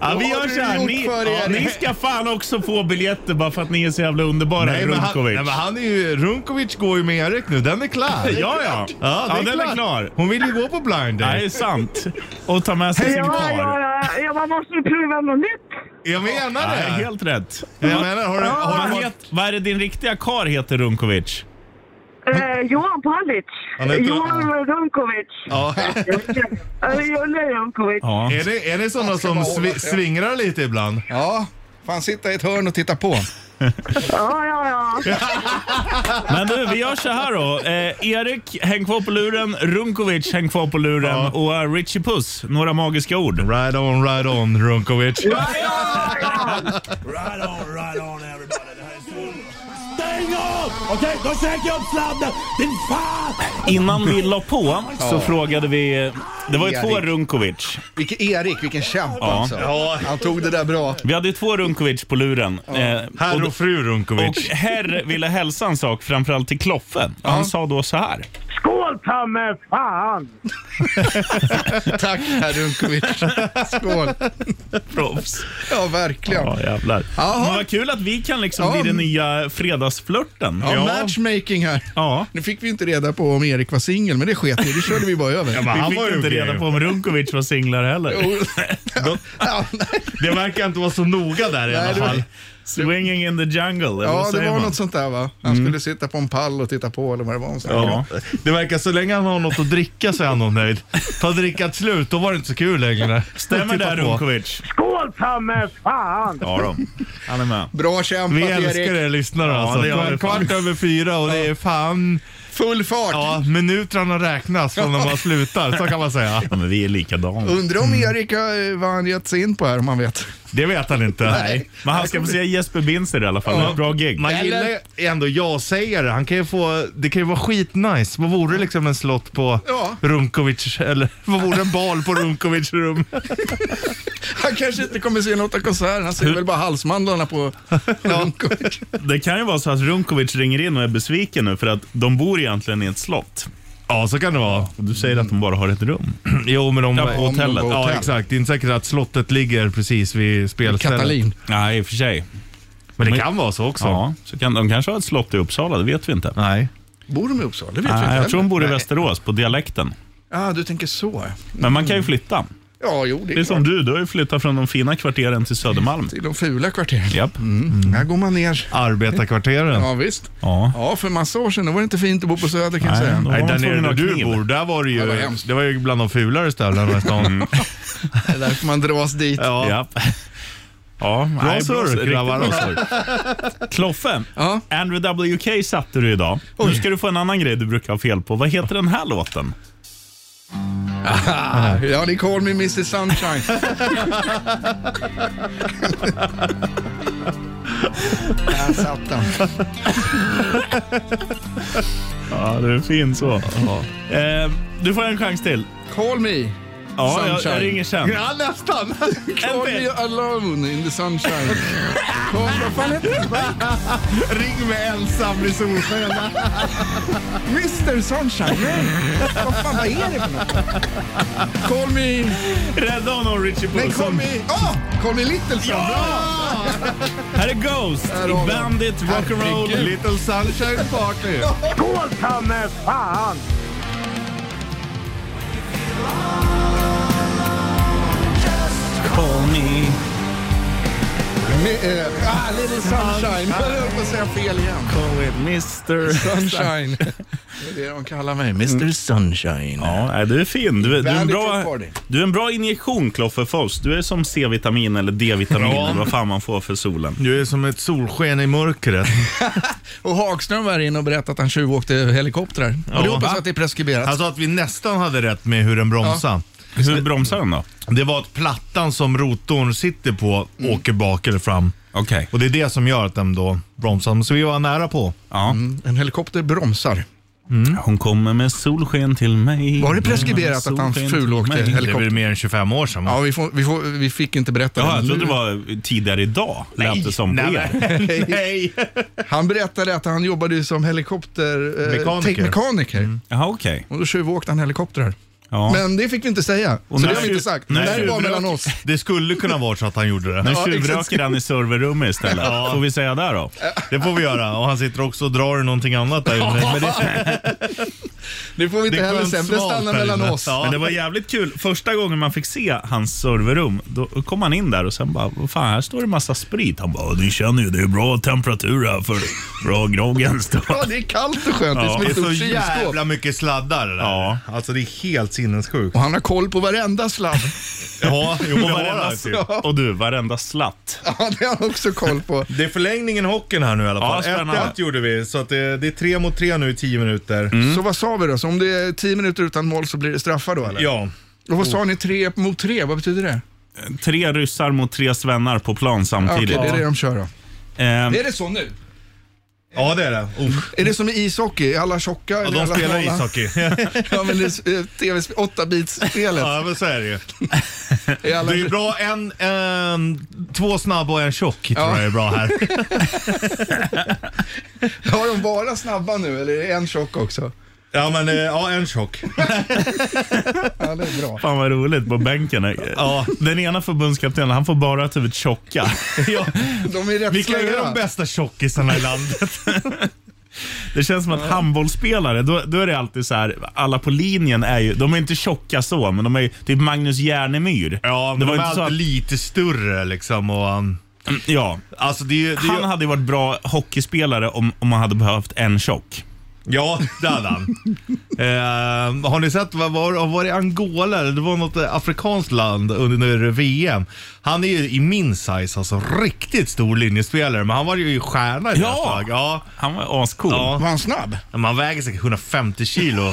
B: vi
D: Vad
B: gör
D: har du
B: så här.
D: gjort
B: Ni,
D: för
B: ja,
D: er?
B: ni ska fan också få biljetter bara för att ni är så jävla underbara,
C: Nej, men han,
B: Runkovic.
C: nej, men han är ju, Runkovic går ju med Erik nu. Den är klar.
B: Ja, ja.
C: Ja, det är
B: den
C: klart.
B: är klar.
C: Hon vill ju gå på blind
B: Ja, det
C: date.
B: är sant. Och ta med sig sin
J: Ja, ja,
B: kar.
J: ja, ja, man måste ju prova något nytt.
C: Jag menar
B: Ja, det är
C: det.
B: helt rätt.
C: Jag menar, har du, har
B: Vad,
C: du
B: het, vad är det din riktiga kar heter, Runkovic?
J: Eh, Johan Palic.
C: Han heter-
J: Johan Runkovic.
C: Ja.
J: Eller Jolle Runkovic.
B: Ja.
C: Är det, är det sådana som svi, svingrar lite ibland?
E: Ja, fan sitta i ett hörn och titta på.
J: Ja, ja, ja.
B: Men du, vi gör så här då. Eh, Erik, häng kvar på luren. Runkovic, häng kvar på luren.
C: Ja.
B: Och eh, Richie Puss, några magiska ord.
C: Right on, right on, Runkovic.
A: Right on, right on everybody. Det här är sol. Stäng av! Okej, då sänker jag upp sladden. Din fan!
B: Innan vi la på så frågade vi... Det var ju två
E: Erik.
B: Runkovic.
E: Vilken Erik, vilken kämpa
B: Ja.
E: alltså.
C: Ja,
E: Han tog det där bra.
B: Vi hade ju två Runkovic på luren. Eh,
C: herr
B: och-
C: och fru
B: Och
C: Runkovic.
B: herr ville hälsa en sak, framförallt till Kloffe. Han sa då så här.
H: Skål ta mig fan!
E: Tack herr Runkovic. Skål.
B: Proffs.
E: Ja, verkligen.
B: Ja, jävlar.
E: Jaha.
B: Men vad kul att vi kan liksom
E: Ja.
B: bli den nya fredagsflörten.
E: Ja, matchmaking här.
B: Ja.
E: Nu fick vi inte reda på om Erik var singel, men det sket vi Det körde vi bara över.
C: men
B: Vi
C: han
B: fick
C: var ju
B: inte
C: okej.
B: reda på om Runkovic var singlar heller.
E: Jo. ja, nej.
C: Det verkar inte vara så noga där i alla
E: det var-
C: fall.
B: Swinging in the jungle, eller
E: ja
B: vad
E: det
B: säger
E: var
B: man?
E: något sånt där va? Han skulle sitta på en pall och titta på eller vad det var hon sa.
B: Ja.
C: Det verkar så länge han har något att dricka så är han nog nöjd. Tar drickat slut, då var det inte så kul längre.
B: Stämmer
C: Titta
B: där
C: på.
B: Runkovic?
H: Skål ta mig fan!
B: Ja då. Han är med.
E: Bra kämpat
C: Vi
E: Erik.
C: älskar er lyssnare
B: det gör vi
C: alltså.
B: fan.
C: Kvart över fyra och det är fan...
E: Full fart.
C: Ja, minuterna räknas från när man slutar, så kan man säga.
B: Ja, men vi är likadana.
E: Undrar om Erik har, vad han gett sig in på här om man vet.
C: Det vet han inte.
B: Nej. Men han ska få se Jesper Binzer i alla fall. Ett bra gig.
C: Man
E: Eller-
C: gillar ju ändå jag-sägare. Han kan ju få, det kan ju vara skitnice. Vad vore liksom en slott på
E: Ja.
C: Runkovic, eller vad vore en bal på Runkovics rum?
E: Han kanske inte kommer se något av konserten. Han ser väl bara halsmandlarna på Runkovic.
B: Det kan ju vara så att Runkovic ringer in och är besviken nu för att de bor egentligen i ett slott.
C: Ja, så kan det vara.
B: Och du säger att de bara har ett rum.
C: Jo, men om...
B: Ja, på hotellet.
C: Ja,
E: Hotell.
C: exakt. Det är inte säkert att slottet ligger precis vid spelstället.
E: Katalin.
B: Nej, i och för sig.
C: Men det kan vara så också.
B: Ja, så kan, de kanske har ett slott i Uppsala, det vet vi inte.
C: Nej.
E: Bor de i Uppsala? Det vet vi inte
B: Nej, jag
E: heller.
B: tror de bor i
E: Nej.
B: Västerås, på dialekten.
E: Ja, Ah, du tänker så.
B: Men man
C: Mm.
B: kan ju flytta.
E: Ja, jo, det är,
B: Det är
E: klart.
B: som du, du har ju flyttat från de fina kvarteren till Södermalm.
C: Mm.
E: Till de fula kvarteren.
B: Japp.
E: Här går man ner.
C: Arbetarkvarteren.
E: Ja, visst.
B: Ja.
E: Ja, för massa år sedan då var det inte fint att bo på Söder kan jag
B: Nej,
E: säga.
B: då-
C: Nej,
B: var
C: där
B: man
C: nere
B: tvungen
C: där
B: att ha
C: du
B: kniv.
C: bor, där var det ju,
E: Ja, vad hemskt.
C: det var ju bland de fulare ställena i stan.
E: Det är därför man dras dit.
C: Ja.
B: Ja. Ja, bra
C: surr, grabbar.
B: Kloffe,
E: Ja.
B: Andrew WK satte du idag. Nu ska du få en annan grej du brukar ha fel på. Vad heter den här låten?
E: Ja, det call me Mr Sunshine. Där satt han.
B: Ja, det är fin så. Eh, du får en chans till.
E: Call me.
B: Ja, jag,
E: Sunshine.
B: jag ringer sen.
C: Ja, nästan.
E: Call me alone in the sunshine. Call, vad fan heter det?
C: Ring med ensam blir solsken.
E: Mr Sunshine? Nej. Vad fan, vad är det för något? Call me...
B: Rädda honom Richie
E: Nej,
B: Puss.
E: call me... Ah! call me Little Sun.
B: Här är Ghost
E: Här har
B: i
E: vi
B: Bandit Rock'n'Roll.
C: Little sunshine party.
H: Skål ta mig fan!
B: Call me.
E: Me- eh, ah, little Sunshine. Jag höll på att säga fel igen.
B: Call it Mr...
E: Sunshine. Det är det de kallar mig. Mr Sunshine.
B: Ja, nej, du är fin. Du, är- du, är en
E: Bandit
B: bra,
E: Rock Party.
B: du är en bra injektion Kloffe för oss. Du är som C-vitamin eller D-vitamin eller vad fan man får för solen.
C: Du är som ett solsken i mörkret.
E: Och Hagström var inne och berättade att han tjuvåkte helikoptrar. och det hoppas
C: va?
E: jag att det är preskriberat.
C: Han sa att vi nästan hade rätt med hur den bromsar.
B: Hur bromsar den då?
C: Det var att plattan som rotorn sitter på
B: Mm.
C: åker bak eller fram.
B: Okej.
C: Och det är det som gör att den då bromsar. Så vi var nära på.
B: Ja.
E: En helikopter bromsar.
B: Hon kommer med solsken till mig.
E: Var det preskriberat att han
B: Solsken till
E: fulåkte
B: mig.
C: Det är väl
E: helikopter?
C: mer än 25 år sedan va?
E: Ja, vi, får, vi, får, vi fick inte berätta
B: Jaha, jag
E: det. men
B: trodde
E: nu-
B: det var tidigare idag, lät det som på
C: nej,
B: er.
C: nej, nej.
E: Han berättade att han jobbade ju som helikopter... eh,
C: Mekaniker.
E: te- mekaniker.
B: Jaha, okej.
E: Och då tjuvåkte han helikoptrar.
B: Mm. Ja.
E: Men det fick vi inte säga.
B: Och
E: så
B: när
E: det har vi
B: tjuv-
E: inte sagt.
B: när
E: det här är bara
B: tjuvrök-
E: mellan oss.
C: Det skulle kunna vara så att han gjorde det.
B: Nu
E: Ja, exakt.
B: tjuvröker han i serverrummet istället. Får vi säga där då?
C: Det får vi göra. Och han sitter också och drar i någonting annat där inne. Men det,
E: Det får vi inte
C: Det är
E: heller
C: skönt
E: sen. Det
C: svalt
E: stannar
C: här
E: mellan
C: inne.
E: oss.
B: Men det var jävligt kul. Första gången man fick se hans serverrum, då kom han in där och sen bara, vad fan, här står det massa sprit. Han bara, du känner ju, det är bra temperatur här för bra groggen.
E: Ja, det är kallt och skönt. Det är som
C: Det är
E: ett
C: så
E: stort kylskåp.
C: jävla mycket sladdar det där.
B: Ja.
C: Alltså det är helt sinnessjukt.
E: Och han har koll på varenda sladd.
C: Ja, jo,
B: Och,
C: det, har
B: varenda,
E: alltså.
C: han typ.
B: och du, varenda slatt.
E: Ja, det har han också koll på.
C: det är förlängningen i hockeyn här nu i alla
B: Ja,
C: fall.
B: spännande.
C: 1-1 gjorde vi, så att det, det är tre mot tre nu i tio minuter.
E: Så vad sa vi då? Så om det är 10 minuter utan mål så blir det straffar då eller?
C: Ja.
E: Och vad
C: Mm.
E: sa ni? Tre mot tre, vad betyder det?
B: Tre ryssar mot tre svennar på plan
E: Ja, Okej,
B: samtidigt.
E: det är det de kör då.
C: Mm.
B: Ehm,
E: det så nu?
C: ja, det är det. Uff.
E: Är det som i ishockey? Är alla tjocka?
C: Ja,
E: eller
C: de
E: alla
C: spelar
E: smala?
C: ishockey.
E: Ja, men det är eh, tv 8-bitsspelet.
C: ja, men så är det ju.
E: Är alla-
C: Det är bra en, en två snabba och en tjock tror jag är bra här.
E: Har de bara snabba nu eller är det en tjock också?
C: Ja, men eh, ja, en tjock.
E: Ja, det är bra.
B: Fan vad roligt på bänken.
C: Ja.
B: Den ena förbundskaptenen, han får bara huvudet tjocka.
C: Ja.
E: De är rätt
C: Vilka är
E: slöa.
C: de bästa tjockisarna i landet?
B: Det känns som att handbollsspelare, då, då är det alltid så här, alla på linjen är ju, de är inte tjocka så, men de är ju typ Magnus Järnemyr.
C: Ja, men det var de är
B: inte så
C: alltid
B: att,
C: lite större liksom. Och, um,
B: ja.
C: alltså, det, är ju- det, är ju-
B: Han hade ju varit bra hockeyspelare om, om man hade behövt en tjock.
C: Ja, det hade han. eh, har ni sett, vad var, var det Angola eller det var något eh, afrikanskt land under under VM? Han är ju i min size, alltså riktigt stor linjespelare, men han var ju stjärna i
B: Ja.
C: ett tag. Ja.
B: Han var ascool.
C: Ja.
E: Var han snabb?
C: Men Han väger säkert 150 kilo.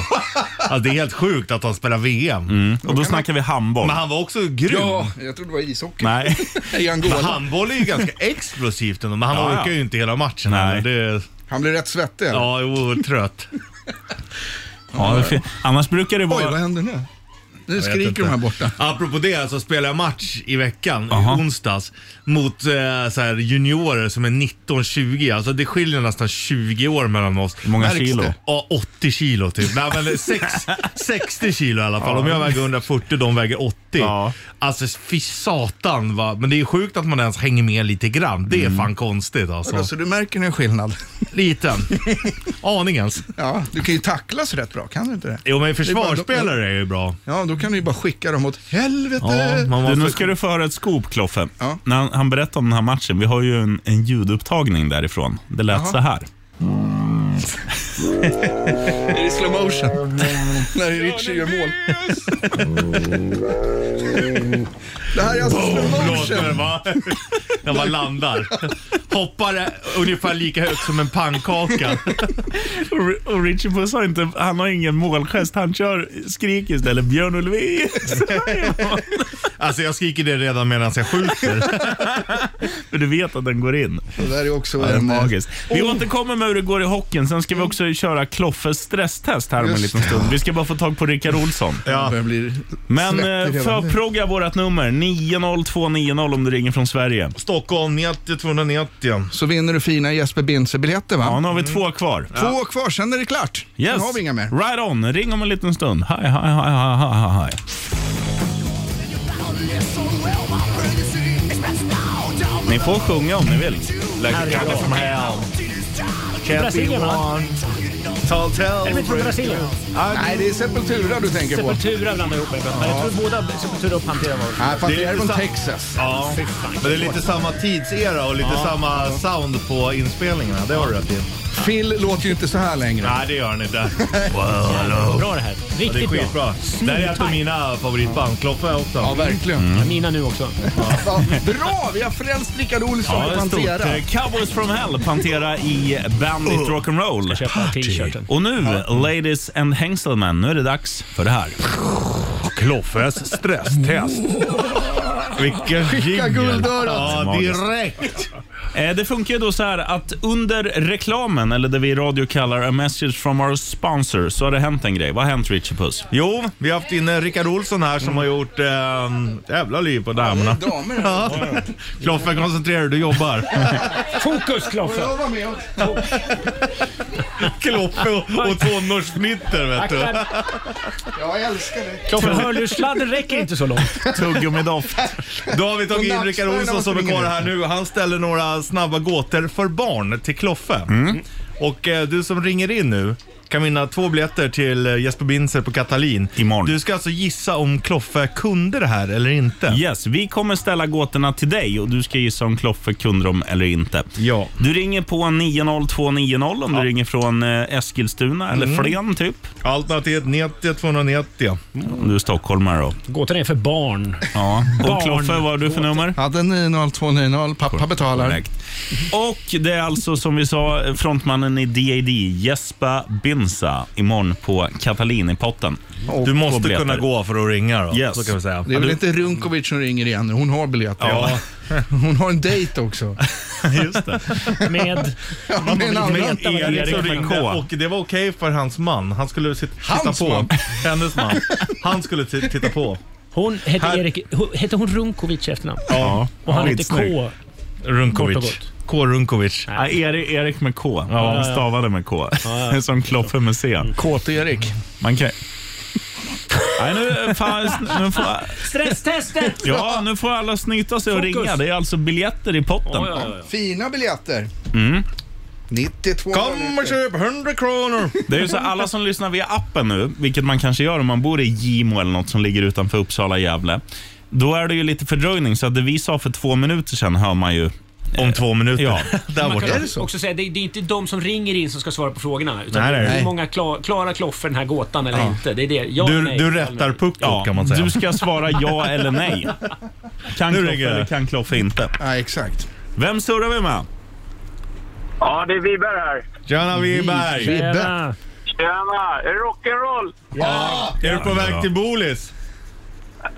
C: alltså, det är helt sjukt att han spelar VM.
B: Och då snackar vi handboll.
C: Men han var också grym.
E: Ja, jag trodde det var ishockey.
B: Nej.
E: I Angola.
C: Men
E: Han...
C: handboll är ju ganska explosivt ändå, men han
B: Ja, ja.
C: orkar ju inte hela matchen.
B: Nej.
C: heller. Det, är-
E: blir rätt svettig. eller?
C: ja, jo, trött.
B: Ja, det är fel. Annars brukar det
E: Oj, vad
B: vara...
E: händer nu?
C: Jag
E: Nu
C: vet
E: skriker de här
C: inte.
E: borta.
C: Apropå det så spelade jag match i veckan, i
B: Aha.
C: onsdags, mot eh, så här juniorer som är 19-20. Alltså det skiljer nästan 20 år mellan oss.
B: Hur många
E: Märks
B: kilo?
E: det?
C: Ja, 80 kilo typ. Nej, men sex, 60 kilo i alla fall. Om jag väger 140, de väger 80.
B: Ja.
C: Alltså fy satan va. Men det är sjukt att man ens hänger med lite grann. Det är
B: Mm.
C: fan konstigt alltså.
E: Alltså, du märker en skillnad.
C: Liten. Aningens.
E: Ja, du kan ju tacklas rätt bra, kan du inte det?
C: Jo men
E: bara-
C: försvarsspelare är ju bra.
E: Ja, då kan du ju bara skicka dem åt helvete.
C: Ja, man
B: Du,
C: måste...
B: nu ska du föra ett skop, Kloffe.
E: Ja.
B: När han, han berättade om den här matchen, vi har ju en, en ljudupptagning därifrån. Det lät så här.
E: Är det slow motion? När Richie gör mål. Det här är alltså slow
C: Låter det
E: motion.
C: va? När man landar. Hoppar ungefär lika högt som en pannkaka.
B: Och, Ri- och Richie Puss har inte, han har ingen målgest. Han kör skrik istället. Björn Ulvaeus.
C: Alltså jag skriker det redan medan jag skjuter.
B: För du vet att den går in.
E: Det där är också
B: Det är
E: en... eh,
B: magiskt. Vi
E: oh.
B: återkommer med hur det går i hockeyn. Sen ska vi också köra Kloffes stresstest här om en
E: Just
B: liten stund. Vi ska bara få tag på Rickard Olsson.
E: Ja. Börjar bli
B: Men
E: svettig
B: eh,
E: redan nu.
B: förprogga vårt nummer 90290 om du ringer från Sverige.
C: Stockholm 90 290.
E: Så vinner du fina Jesper Binzer-biljetter va?
B: Ja, nu har vi två kvar.
E: Två kvar, sen är det klart. Sen
B: Yes.
E: Mm. har vi inga mer.
B: Right on. Ring om en liten stund. Hej, hej, hej, hej, hej, hej, hej. Ni får sjunga om ni vill. Like a
C: from hell. Can't be
K: Brasilien, va?
C: one. Tall tell.
K: Är det från Brasilien?
E: Nej, det är Sepultura du tänker på.
K: Sepultura blandar ihop med. Men jag tror båda Sepultura och Pantera var
E: Nej, fast det
C: Det
E: är
C: är
E: från
C: sant.
E: Texas.
C: Ja, men det är lite samma tidsera och lite samma sound på inspelningarna. Det har du rätt i.
E: Phil låter ju inte så här längre.
C: Nej, det gör han inte.
K: bra det här.
C: Det är
K: Riktigt bra.
C: skitbra. Det här är ett av mina favoritband. Kloffe också.
E: Ja, verkligen.
K: Mina nu också.
E: Ja, bra, vi har frälst Rickard Olsson
B: Ja,
E: på
B: det är stort.
E: Pantera.
B: Eh, Cowboys from hell, Pantera i Bandit Rock'n'Roll.
K: Köpa t-shirten.
B: Och nu, ladies and hengselmen, nu är det dags för det här.
C: Kloffes stresstest. Vilken Skicka
E: guldörat.
C: Ja, direkt.
B: Eh, Det funkar ju då så här att under reklamen, eller det vi i radio kallar a message from our sponsor, så har det hänt en grej. Vad har hänt Richie Puss?
C: Jo, vi har haft in Rickard Olsson här som har gjort eh, jävla liv på damerna.
E: Damer här.
C: Ja. Kloffe, koncentrera dig. Du jobbar.
K: Fokus Kloffe!
E: Jag var med och-
C: Kloffe och, och tonårsfnitter, vet du.
E: Jag älskar det.
K: Kloffe, hörlurssladden räcker inte så långt.
B: Tuggummidoft.
C: Då har vi
E: Och
C: tagit in Rickard
E: nacksvärden
C: Olsson som är
E: måste
C: kvar
E: ringa
C: här nu. Han ställer
B: Mm.
C: några snabba gåtor för barn till Kloffe. Och eh, du som ringer in nu kan vinna två biljetter till eh, Jesper Binzer på Katalin.
B: Imorgon.
C: Du ska alltså gissa om Kloffe kunde det här eller inte.
B: Yes, vi kommer ställa gåtorna till dig och du ska gissa om Kloffe kunde dem eller inte.
C: Ja.
B: Du ringer på 90290 om du ringer från eh, Eskilstuna eller
C: Mm.
B: Flen typ.
C: Alternativet 90 290.
B: Om du är stockholmare då.
K: Gåtan är för barn.
B: Ja.
K: Barn.
B: Och Kloffe, vad har du för nummer?
E: Ja, det är 90290. Pappa betalar.
B: Korrekt. Och det är alltså som vi sa frontmannen i DAD, Jesper Binza, imorgon på Katalin i potten.
C: Du
B: Två
C: måste
B: biljetter.
C: kunna gå för att ringa då.
B: Yes.
C: Så kan vi säga.
E: Det är väl inte Runkovic som ringer igen? Hon har biljetter.
C: Ja.
E: Hon har en dejt också.
B: Just det.
K: Med...
E: Ja,
K: Man
E: med en
K: vill
E: annan.
K: veta vad det är.
B: Erik
C: Så
B: med
C: ringde
B: K.
C: och det var okej för hans man. Han skulle sit- titta
E: Hans
C: på.
E: man.
C: Hennes man. Han skulle ti- titta på.
K: Hon hette
C: Här-
K: Erik... hon- Hette hon Runkovic i efternamn?
B: Ja.
K: Och han hette
B: Skitsnygg.
K: K. Kort och
C: Runkovic.
K: gott.
C: K. Runkovic.
B: Ja, Erik, Erik med K.
K: Ja, ja.
B: Han stavade med K. Som Kloffe med C.
E: Kåt-Erik.
B: Man kan... Nej, nu, fan, nu, får,
K: Stresstester!
B: ja, nu får alla snyta sig och
K: Fokus.
B: ringa. Det är alltså biljetter i potten.
K: Ja, ja, ja.
E: Fina biljetter. 92
C: Kom och köp 100 kronor.
B: Det är ju så här, alla som lyssnar via appen nu, vilket man kanske gör om man bor i Gimo eller något som ligger utanför Uppsala, Gävle. Då är det ju lite fördröjning, så att det vi sa för två minuter sedan hör man ju.
C: Om två minuter.
B: Ja.
C: Där
K: Man
C: borta.
K: kan också säga, det är, det är inte de som ringer in som ska svara på frågorna. Utan
C: Nej, nej, nej.
K: hur många klar, klarar Kloffer den här gåtan eller inte? Det är det. Ja,
C: Du,
K: nej,
C: du
K: ja,
C: rättar
K: nej.
C: puckot kan man säga.
B: Du ska svara ja eller nej. Kan
C: Nu
B: Kloffe
C: ringer
B: eller
C: jag.
B: kan Kloffe inte.
E: Ja, exakt.
B: Vem surrar vi med?
H: Ja, det är Viberg här.
C: Tjena Wiberg!
K: Tjena.
H: Tjena! Är det rock'n'roll?
C: Är du på väg till Bolis?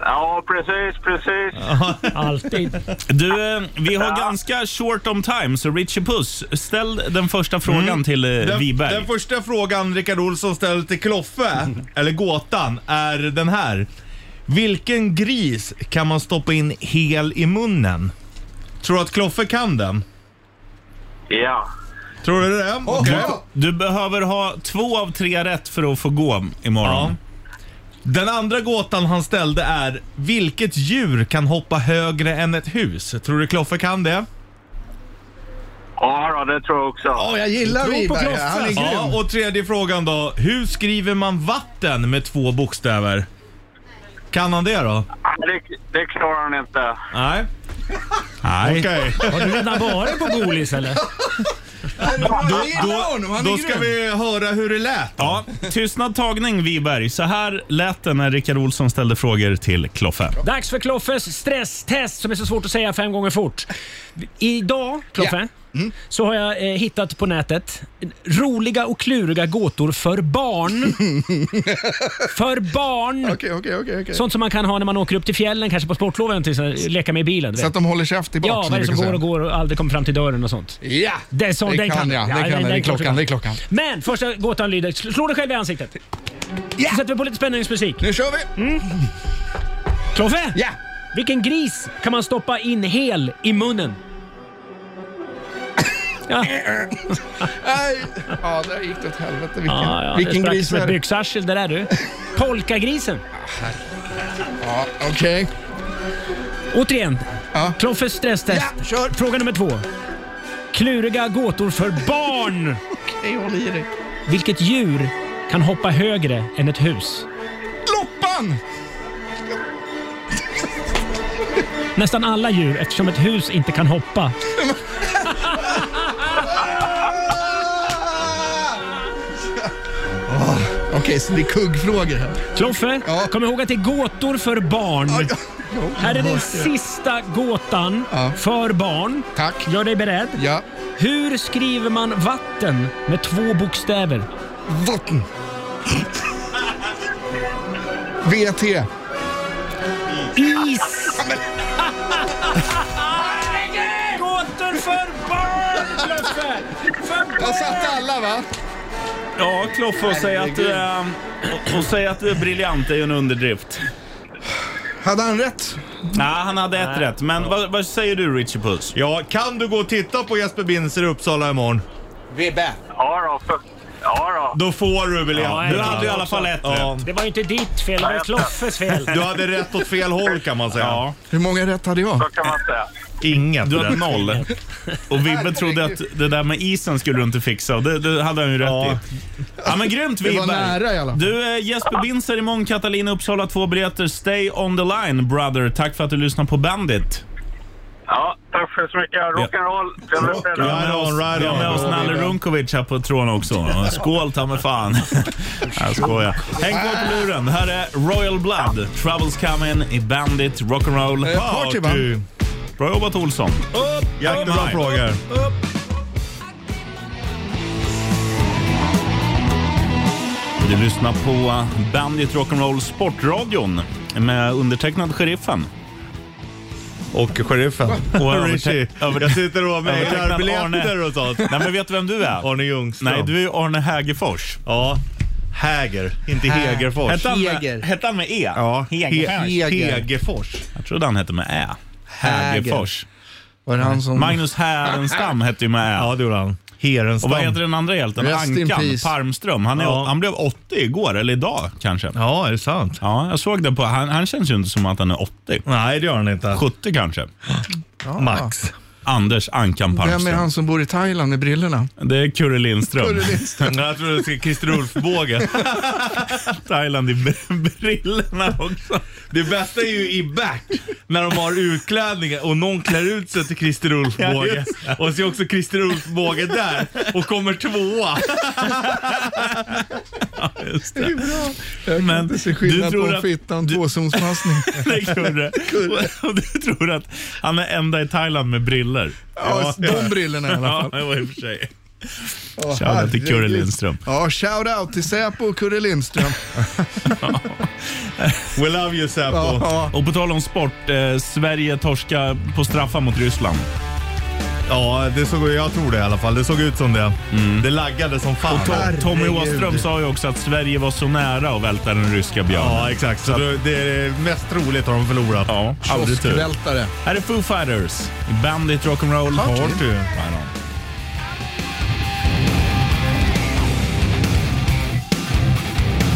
H: Ja, precis, precis.
K: Alltid.
B: Du, eh, vi har ganska short on time, så Richie Puss, ställ den första frågan
C: Mm.
B: till eh,
C: Den,
B: Wiberg.
C: den första frågan Rickard Olsson ställer till Kloffe, eller gåtan, är den här. Vilken gris kan man stoppa in hel i munnen? Tror du att Kloffe kan den?
H: Ja.
C: Tror du det? Okej.
B: Du behöver ha två av tre rätt för att få gå imorgon.
C: Den andra gåtan han ställde är vilket djur kan hoppa högre än ett hus? Tror du Kloffe kan det?
H: Ja, då, det tror jag också.
E: Åh, jag gillar
K: på
E: Wiberg.
K: Kloffe.
E: Han är grym.
C: Ja, och tredje frågan då. Hur skriver man vatten med två bokstäver? Kan han det då?
H: Ja, Det, det klarar han inte.
C: Nej.
B: Nej.
C: Okej.
K: Har du redan varit på Bolis eller?
E: Jag
C: Då,
E: gillar honom. Han är
C: då ska
E: grym.
C: vi höra hur det lät.
B: Ja, tystnad tagning Wiberg. Så här lät det när Rickard Olsson ställde frågor till Kloffe.
K: Dags för Kloffes stresstest som är så svårt att säga fem gånger fort. Idag, Kloffe,
E: Mm.
K: så har jag eh, hittat på nätet roliga och kluriga gåtor för barn. för barn!
E: Okej, okej, okej. okej.
K: Sånt som man kan ha när man åker upp till fjällen, kanske på sportloven, till så här, leka med i bilen. du
E: Så
K: vet.
E: att de håller käft i bak.
K: Ja, vad är det som går och går och aldrig kommer fram till dörren och sånt.
E: Ja,
K: Det, är sånt,
E: det
K: den
E: kan jag. Det kan jag. Det är
K: klart du
E: klockan. Det är klockan.
K: Men första gåtan lyder, sl- slå dig själv i ansiktet.
E: Ja!
K: Så sätter vi på lite spänningsmusik.
E: Nu kör vi!
K: Kloffe!
E: Ja!
K: Vilken gris kan man stoppa in hel i munnen? Ja,
E: Nej. Ja, där gick det åt helvete. Vilken,
K: ja, ja,
E: vilken
K: det sprack
E: gris
K: som
E: är
K: ett
E: det?
K: byxarsel det där du. Polkagrisen.
E: Ja, okej.
K: Återigen,
E: Ja.
K: Kloffes stresstest.
E: Ja, kör.
K: Fråga nummer två. Kluriga gåtor för barn.
E: Hej, håll i dig.
K: Vilket djur kan hoppa högre än ett hus?
E: Loppan!
K: Nästan alla djur eftersom ett hus inte kan hoppa.
E: Okej, så det är kuggfrågor här.
K: Kloffe,
E: Ja.
K: kom ihåg att det är gåtor för barn.
E: ja.
K: Här är den sista gåtan
E: Ja.
K: för barn.
E: Tack.
K: Gör dig beredd.
E: Ja.
K: Hur skriver man vatten med två bokstäver?
E: Vatten. VT.
K: Is! Gåtor för barn, Kloffe! För
E: Jag satte alla va?
B: Ja, Kloffe, och säga att, du är- och, och säga att du är briljant är ju en underdrift.
E: Hade han rätt?
B: Nej, han hade ett rätt. Men vad, vad säger du, Richie Puss?
C: Ja, kan du gå och titta på Jesper Binzer i Uppsala imorgon?
E: Vibbe.
H: Ja, då. För, ja, då.
C: Då får du
K: Ja,
C: biljetten.
B: Du hade ju i alla fall ett
C: Ja.
B: rätt.
K: Det var ju inte ditt fel, det var Kloffes fel.
C: Du hade rätt åt fel håll kan man säga.
B: Ja.
E: Hur många rätt hade jag?
H: Så kan man säga.
C: Inget.
B: Du hade
C: rätt.
B: noll. Och Vibbe trodde att det där med isen skulle du inte fixa och det, det hade han ju rätt i. Ja men grymt
E: Det var
B: Vibbe.
E: nära i alla fall.
B: Du eh, Jesper Binzer imorgon, Catalina Uppsala, två biljetter. Stay on the line brother. Tack för att du lyssnar på Bandit.
H: Ja, tack så mycket. Rock'n'roll. Trevlig
B: Vi har
H: fredag.
B: med oss, vi har med oss Nalle Runkovic här på tråden också. Skål ta mig fan. Jag skojar. Häng kvar på luren. Här är Royal Blood, Troubles Coming i Bandit Rock'n'Roll
E: Eh, party, va?
B: Bra jobbat Olsson. Upp,
C: Jättebra frågor.
B: Du lyssnar på Bandit Rock'n'Roll Sportradion med undertecknad Sheriffen.
C: Och Sheriffen.
B: Och övertä-
C: Richie. Jag sitter och mejlar
B: övertecknad
C: biljetter
B: Arne-
C: och sånt.
B: Nej men vet du vem du är?
C: Arne Ljungström.
B: Nej, du är ju Arne Hägerfors.
C: Ja. Häger, inte
B: Hä-
C: Hegerfors.
B: Hette han med- Heger. hette han med E?
C: Ja.
B: Hegerfors.
C: He- Hegerfors.
B: Jag trodde han hette med Ä. Hägerfors.
E: Var det han som...
B: Magnus Härenstam hette ju med Ä.
C: Ja, det gjorde han. Herenstam.
B: Och vad heter den andra hjälten?
E: Rest in
B: Ankan
E: peace.
B: Parmström. Han, är,
C: Ja.
B: han blev 80 igår, eller idag kanske.
C: Ja, är det sant?
B: Ja, jag såg det på... Han, han känns ju inte som att han är 80.
C: Nej, det gör han inte.
B: 70 kanske.
C: Max.
B: Anders Ankan
E: Vem är
B: Parmström.
E: han som bor i Thailand med brillorna?
B: Det är Kurre Lindström.
C: Jag tror du ska Christer Ulf-båge.
B: Thailand i brillorna också.
C: Det bästa är ju i Bert, när de har utklädningar och någon klär ut sig till Christer
B: Ja,
C: Ulf-båge.
B: just
C: och så är också Christer Ulf-båge där och kommer tvåa.
B: Just det.
E: Jag kan
B: Men
E: inte
B: du
E: se skillnad
B: tror
E: på en
B: att-
E: fitta och en tvåzonspassning.
B: Det är Kurre. Och- Och du tror att han är enda i Thailand med briller.
E: Ja, de brillorna i alla
B: Ja,
E: fall.
B: det var i och för sig.
E: Åh,
B: Shoutout till Kurre
E: herregud.
B: Lindström.
E: Ja, shoutout till Säpo och Kurre Lindström.
C: We love you Säpo.
E: Ja,
B: Och på tal om sport, eh, Sverige torska på straffar mot Ryssland.
C: Ja, det såg, jag tror det i alla fall. Det såg ut som det. Det laggade som fan.
B: To- Mm. Tommy
E: Herregud.
B: Åström sa ju också att Sverige var så nära att välta den ryska björnen.
C: Ja, exakt. Så det, det är mest troligt har de förlorat.
B: Ja, aldrig tur.
E: Kioskvältare.
B: Här är Foo Fighters i Bandit Rock'n'Roll
E: Party.
B: Party. Right on.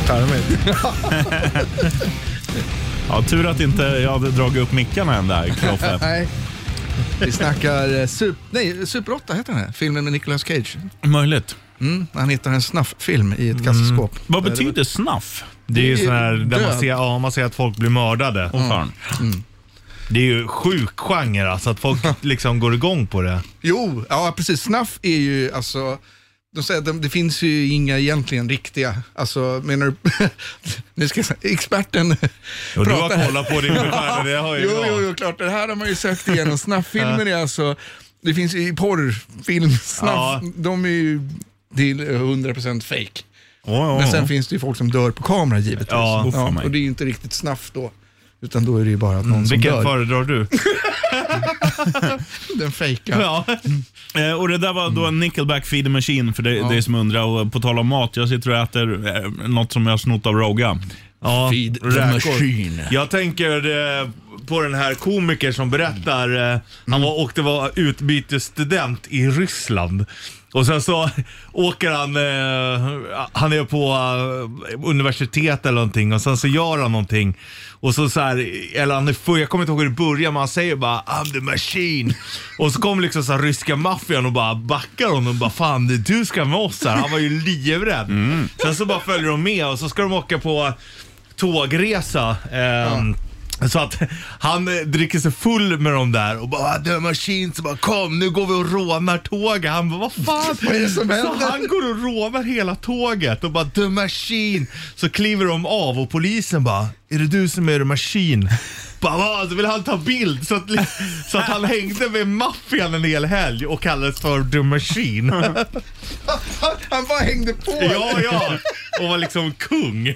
E: Charmigt.
B: Ja, tur att inte jag hade dragit upp mickarna än där, Kloffe.
E: Nej. Vi snackar eh, sup, nej, Super 8, heter den här? Filmen med Nicolas Cage.
B: Möjligt.
E: Mm, han hittar en snafffilm i ett kassaskåp.
B: Vad betyder snaff?
C: Mm. Det är ju sån här där man
E: Död.
C: ser, ja, man ser att folk blir mördade.
B: Åh fan.
C: Det är ju sjuk genre alltså, att folk liksom går igång på det.
E: Jo, ja precis. Snaff är ju alltså, de säger att de, det finns ju inga egentligen riktiga, alltså menar du, nu ska jag säga, experten
C: Och du
E: pratar
C: har
E: här.
C: kollat på det ungefär, det har jag ju
E: Jo, jo,
C: bra.
E: jo, klart. Det här har man ju sökt igenom. Snafffilmen är alltså, det finns ju i porrfilm, snaff,
C: Ja.
E: de är ju till 100% fake.
C: Ja, ja,
E: Men sen
C: ja.
E: finns det ju folk som dör på kamera givetvis.
C: Ja,
B: oh, fan mig.
E: och det är ju inte riktigt snaff då. Utan då är det ju bara att någon som
C: Vilken
E: dör.
C: föredrar du?
E: Den fejkar.
C: Ja. Mm.
B: Eh, och det där var då en Nickelback Feed Machine för dig dig som undrar. Och på tal om mat, jag sitter och äter eh, något som jag har snott av Rogga.
C: Ja, räkor.
E: machine.
C: Jag tänker eh, på den här komiker som berättar, eh, han var, åkte var utbytesstudent i Ryssland. Och sen så åker han, eh, han är på eh, universitet eller någonting och sen så gör han någonting. Och så så här, eller han är full, jag kommer inte ihåg hur det börjar men han säger bara I'm the machine. Och så kommer liksom så här, ryska maffian och bara backar honom och bara fan det är du ska med oss här. Han var ju livrädd. Sen så bara följer de med och så ska de åka på tågresa. ehm, Så att han eh, dricker sig full med dem där och bara The Machine så bara kom nu går vi och rånar tåget. Han bara vad fan
E: Vad är det som händer?
C: Så han går och rånar hela tåget och bara The Machine. Så kliver de av och polisen bara är det du som är The Machine? Bara va? Så vill han ta bild så att, li- så att han hängde med maffian en hel helg och kallades för The Machine.
E: Han bara hängde på.
C: ja, ja. Och var liksom kung.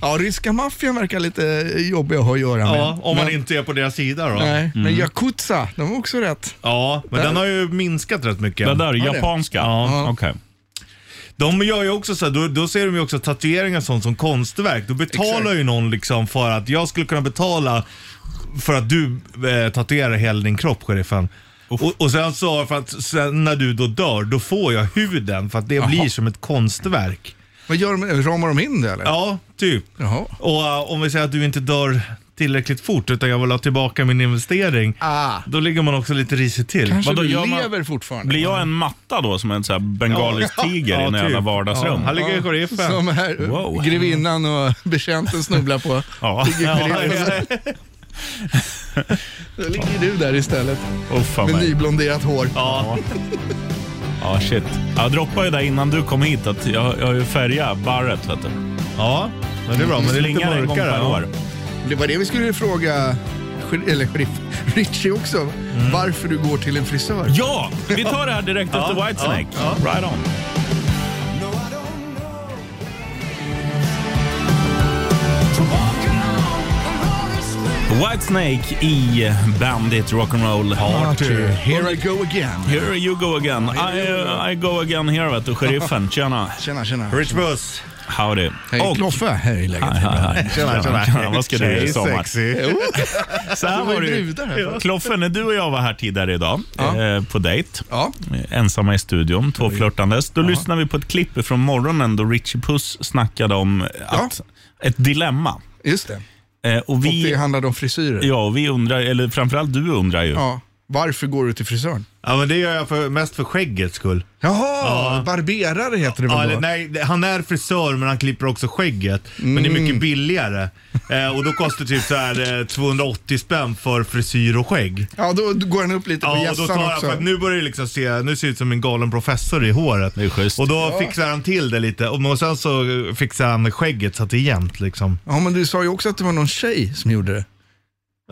E: Ja, ryska maffian verkar lite jobbig att ha att göra med.
C: Ja, om man inte är på deras sida då.
E: Nej, men Yakuza, de har också rätt.
C: Ja, men den har ju minskat rätt mycket.
B: Det där,
E: Ja, det.
B: japanska?
C: Ja.
B: Okej.
C: De gör ju också så här, då, då ser de ju också tatueringar och sånt som konstverk. Då betalar
E: Exakt.
C: ju någon liksom för att jag skulle kunna betala för att du eh, tatuerar hela din kropp, sheriffen. Och, och sen så, för att sen när du då dör, då får jag huden för att det blir som ett konstverk.
E: Vad gör de? Ramar de in det eller?
C: Ja, typ.
E: Jaha.
C: Och eh, om vi säger att du inte dör tillräckligt fort utan jag vill ha tillbaka min investering.
E: Ah.
C: Då ligger man också lite risigt till.
E: Kanske
B: Vadå,
E: du
B: gör man-
E: lever fortfarande.
B: Blir jag en matta då som en så här bengalisk tiger i några
C: typ.
B: jävla vardagsrum?
C: Han ligger i korefen.
E: Som här,
B: Wow.
E: grevinnan och betjänten snubblar på.
B: Ja.
E: Ligger i korefen. Då ligger du där istället.
B: Oh, fan
E: Med
B: mig.
E: nyblonderat hår.
B: Ja. Ja, shit. Jag droppade ju där innan du kom hit att jag, jag har ju färgat barret, vet du.
C: Ja, men det är bra. Men det är lite
B: Slingar en gång
C: mörkare.
B: per
C: ja.
B: år.
E: Det var det vi skulle fråga Ger- eller Sheriff- Richie också.
C: Mm.
E: Varför du går till en frisör.
B: Ja, vi tar det här direkt efter Whitesnake. Right on. Whitesnake i Bandit Rock'n'Roll Party.
E: Here I go again.
B: Here you go again. I, I go again here, vet du. Sheriffen, tjena.
E: Tjena, tjena.
C: Rich Buss.
B: Howdy.
E: Hej,
B: Och-
E: Kloffe. Hej, läget?
B: Hej, hej, hej.
C: Tjena, tjena.
B: Vad ska du göra i
C: Tjej,
B: sommar?
C: sexy.
B: Så här var det ju.
E: brudar här.
B: Kloffe, när du och jag var här tidigare idag eh, på dejt,
E: Ja.
B: eh, ensamma i studion, två flörtandes, då lyssnade vi på ett klipp från morgonen då Richie Puss snackade om att, ett dilemma.
E: Just det.
B: Eh, och
E: Och det
B: vi,
E: handlade om frisyrer.
B: ja, och vi undrar, eller framförallt du undrar ju.
E: Ja. Varför går du till frisören?
C: Ja, men det gör jag för, mest för skäggets skull.
E: Jaha, barberare heter det väl
C: Ja,
E: då?
C: eller, nej, det- han är frisör men han klipper också skägget. Men det är mycket billigare. Eh, och då kostar det typ så här, eh, 280 spänn för frisyr och skägg.
E: Ja, då då går han upp lite på
C: Ja, och då tar
E: hjässan
C: han, för
E: också.
C: att nu börjar det liksom se, nu ser det ut som en galen professor i håret.
B: Det är schysst.
C: Och då fixar han till det lite och, och sen så eh, fixar han skägget så att det är jämnt liksom.
E: Ja, men du sa ju också att det var någon tjej som gjorde det.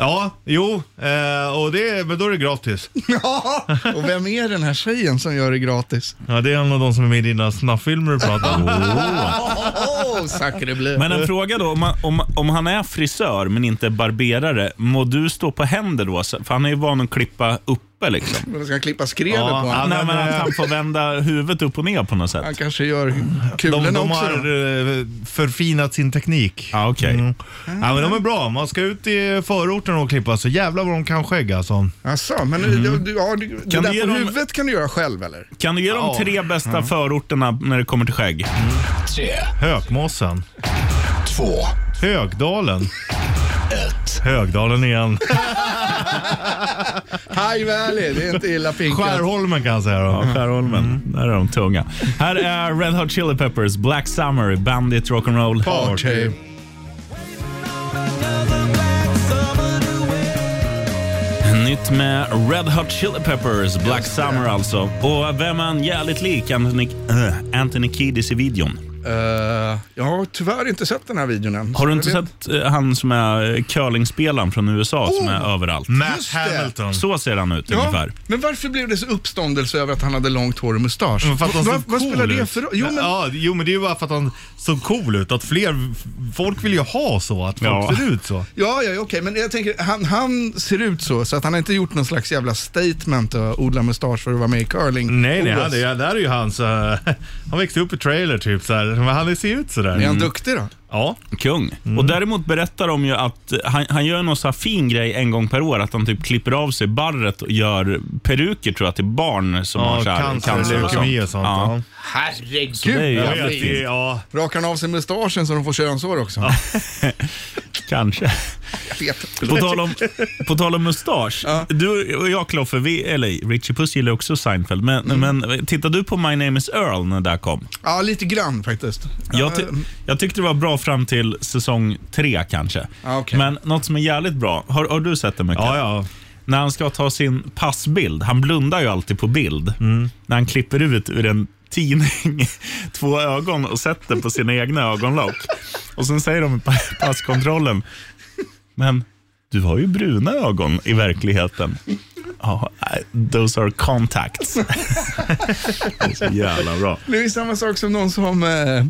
C: Ja, jo, eh, och det, men då är det gratis.
E: Ja, och vem är den här tjejen som gör det gratis?
C: Ja, det är en av de som är med i dina snabbfilmer du pratar om.
E: Åh, oh, sacre bleu.
B: Men en fråga då, om, man, om, om han är frisör men inte barberare, må du stå på händer då? Så- För han är ju van att klippa uppe liksom.
E: Men ska han klippa skrevet
C: Ja,
E: på honom?
B: Nej, men
C: men,
B: att
C: eh,
B: han får vända huvudet upp och ner på något sätt.
E: Han kanske gör kulorna
C: De, de
E: också.
C: har
E: då.
C: eh, förfinat sin teknik.
B: Ja, okej.
C: Mm. Ja, men de är bra. Man ska ut i förorten och klippa så jävlar vad de kan skägga alltså.
E: Jaså, men du,
C: Mm.
E: du, ja, du, det
B: Kan du
E: där
B: ge
E: på
B: dem-
E: huvudet kan du göra själv eller?
B: Kan du ge de tre bästa
C: Mm.
B: förorterna när det kommer till skägg?
C: Hökmossen. Två. Högdalen. Ett. Högdalen igen.
E: High Valley, det är inte illa pinkat.
C: Skärholmen kan jag säga då.
E: Mm.
B: Skärholmen, där är de tunga. Här är Red Hot Chili Peppers, Black Summer, Bandit Rock'n'Roll
E: Party.
B: Nytt med Red Hot Chili Peppers, Black Summer alltså. Och vem är han jävligt lik? Anthony, äh, Anthony Kiedis i videon.
E: Eh, jag har tyvärr inte sett den här videon än.
B: Har du
E: Jag
B: inte
E: vet-
B: sett eh, han som är eh, curlingspelaren från USA som
E: Oh!
B: är överallt?
C: Matt
E: Just det.
C: Hamilton.
B: Så ser han ut
E: Ja,
B: ungefär.
E: men varför blev det så uppståndelse över att han hade långt hår och mustasch?
C: Men för att han
E: Va-
C: såg
E: vad
C: cool
E: spelar det
C: ut.
E: för roll? Jo, men
C: Ja, jo, men det är ju bara för att han såg cool ut. Att fler, folk vill ju ha så, att folk
B: Ja.
C: ser ut så.
E: Ja, ja, ja, okej, men jag tänker, han, han ser ut så, så att han har inte gjort någon slags jävla statement och odla mustasch för att vara med i curling.
C: Nej, nej,
E: OS.
C: han, det, det här är ju hans... eh, han växte upp i trailer typ så här. Men han ser ut så där.
E: Är
B: Mm.
E: han duktig då?
C: Ja.
B: Kung.
C: Mm.
B: Och däremot berättar de ju att eh, han, han gör någon så här fin grej en gång per år, att han typ klipper av sig barret och gör peruker tror jag till barn som har
C: Ja,
B: så här
C: cancer,
B: cancer och sånt.
C: leukemi och sånt.
B: Ja.
C: Ja.
B: Så det är ju
E: Gud,
C: Jag
B: jävligt
C: vet, det,
B: fint.
C: ja.
E: Rakar han av sig mustaschen så de får könsår också?
B: Kanske.
E: Jag vet inte.
B: På tal om, på tal om mustasch.
E: Ja.
B: Du och jag Kloffe, vi, eller Richie Puss gillar också Seinfeld, men,
C: Mm.
B: men tittade du på My Name Is Earl när det där kom?
E: Ja, lite grann faktiskt.
B: Jag,
C: eh,
B: ty- jag tyckte det var bra fram till säsong tre kanske.
E: Ja, okej.
B: Men något som är jävligt bra, har, har du sett det mycket?
C: Ah, Ja, ja.
B: När han ska ta sin passbild, han blundar ju alltid på bild.
C: Mm.
B: När han klipper ut ur en tidning två ögon och sätter på sina egna ögonlock. Och sen säger de i pa- passkontrollen, men du har ju bruna ögon i verkligheten. Ja, nej, those are contacts. det är så jävla bra.
E: Det är ju samma sak som någon som eh,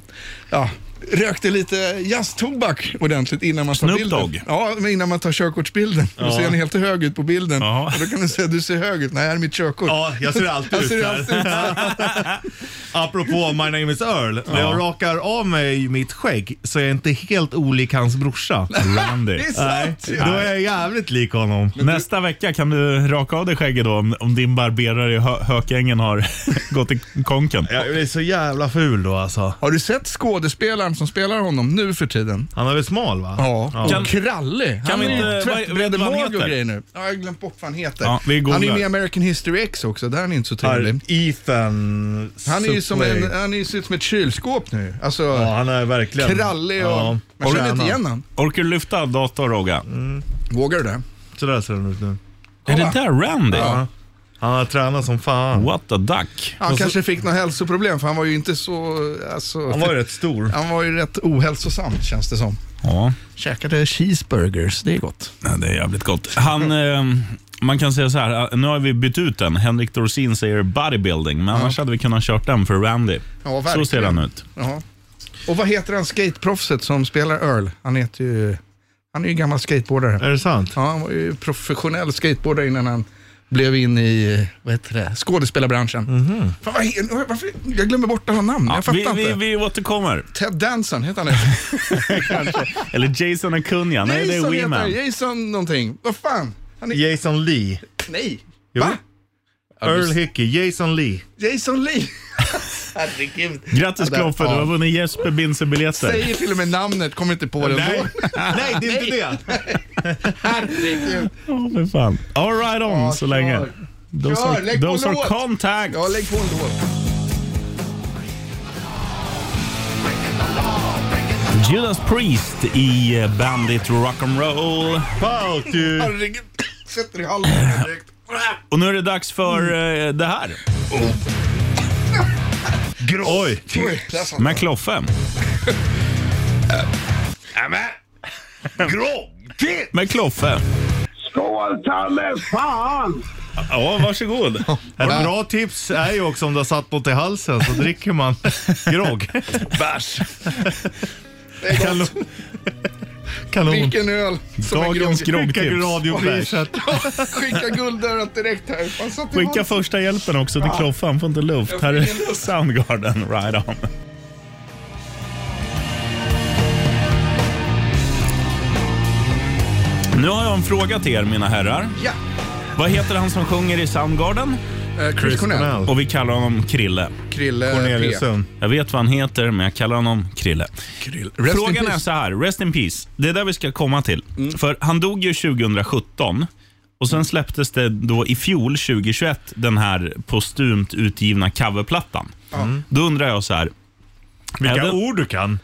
E: ja, rökte lite jazztobak ordentligt innan man tar
B: Snoop
E: bilden.
B: Dogg.
E: Ja, men innan man tar körkortsbilden. Då ser han helt hög ut på bilden.
B: Ja.
E: Och då kan du säga, du ser hög ut. Nej, här är mitt körkort.
C: Ja, jag ser alltid
E: Jag
C: ut
E: ser
C: så
E: alltid ut så
C: här. Apropå My name is Earl. När jag rakar av mig mitt skägg så är jag inte helt olik hans brorsa.
B: Randy.
E: Det är sant!
C: Då är jag jävligt lik honom.
B: Nästa vecka kan du raka av dig skägget då om, om din barberare i Hö- Hökängen har gått i konken.
C: Jag blir så jävla ful då alltså.
E: Har du sett skådespelaren Palm som spelar honom nu för tiden.
C: Han är väl smal va?
E: Ja, och
B: Kan-
E: krallig.
B: kan
E: Han
B: vi
E: är
B: inte-
E: ju
B: vad- vet du vad han
E: tvättbrädemage och
B: heter?
E: grejer nu. Ja, jag har glömt bort vad han heter.
B: Ja, vi googlar.
E: han är ju med i American History X också, där är han inte så trevlig.
C: Ethan
E: Han är ju som
C: Suplee.
E: en, han är ju ser ut som ett kylskåp nu. Alltså,
C: Ja, han är verkligen...
E: krallig och...
C: Ja.
E: Man känner inte
C: Orkar
E: igen
C: han?
E: honom.
B: Orkar du lyfta datorn Rogga?
E: Vågar du det?
C: Sådär ser han ut nu.
B: Är det där Randy?
E: Ja.
C: Han har tränat som fan.
B: What the duck?
E: Han
C: Och så-
E: kanske fick något hälsoproblem för han var ju inte så... Alltså,
C: Han var ju rätt stor.
E: han var ju rätt ohälsosam känns det som.
B: Ja.
E: Käkade cheeseburgers, det är gott.
B: Ja, Det är jävligt gott. Han, eh, man kan säga så här, eh, nu har vi bytt ut den. Henrik Dorsin säger bodybuilding, men annars hade vi kunnat kört den för Randy.
E: Ja, verkligen.
B: så ser han ut.
E: Ja. Och vad heter han skateproffset som spelar Earl? Han heter ju... Han är ju gammal skateboardare.
C: Är det sant?
E: Ja, han var ju professionell skateboardare innan han blev in i vad heter det? skådespelarbranschen. Fan, vad he- varför, jag glömmer bort alla namn, jag fattar
B: vi, Mhm. vi,
E: inte.
B: vi återkommer.
E: Ted Danson heter han det?
B: Eller Jason Acuna. Nej, det är
E: Jason heter han,
B: Weeman.
E: Jason någonting. Vad fan? Han är,
C: Jason Lee.
E: Nej,
C: Jo.
E: va?
C: Earl Hickey, Jason Lee.
E: Jason Lee. Herregud.
B: Grattis
E: Ja, där-
B: Kloffe, du har
E: ja.
B: vunnit Jesper Binse-biljetter.
E: Säger till och med namnet, kommer inte på det
C: Nej.
E: ändå.
C: Nej, det är inte det.
E: Herregud.
B: Åh, fy fan. All right on
E: Ja,
B: så
E: kör.
B: länge. Those,
E: Kör,
B: are,
E: lägg på
B: those are
E: låt.
B: contact.
E: Ja, lägg på en låt.
B: Judas Priest i eh, Bandit Rock'n'Roll.
C: Fuck you.
E: Herregud. Sätter i halsen direkt.
B: Och nu är det dags för eh, det här.
C: Oj.
E: Oj, där satt
B: Med Kloffe.
C: Groggigt!
B: Med Kloffe.
H: Skål, Talle! Fan!
B: Ja, varsågod.
C: Ett bra tips är ju också om du har satt något i halsen så dricker man grogg. Bärs. Kanon.
E: den.
C: Kanon.
E: Vilken öl. som en
B: Dagens
E: grogg.
C: Skicka
B: groggtips.
C: radiobärs.
E: Skicka guldörat direkt här. Fan, satt i
B: Skicka
E: halsen.
B: första hjälpen också till Kloffe, han får inte luft. Här är Soundgarden, right on. Nu har jag en fråga till er mina herrar.
E: Ja.
B: Vad heter han som sjunger i Soundgarden?
E: Eh, Chris Cornell.
B: Och vi kallar honom Krille.
E: Krille P.
C: Corneliusson.
B: Jag vet vad han heter, men jag kallar honom Krille.
E: Rest in
B: Frågan är
E: peace.
B: så här, rest in peace. Det är där vi ska komma till.
C: Mm.
B: För han dog ju 2017 och sen släpptes det då i fjol, 2021, den här postumt utgivna coverplattan. Mm. Då undrar jag så här, är
C: Vilka
B: det-
C: ord du kan.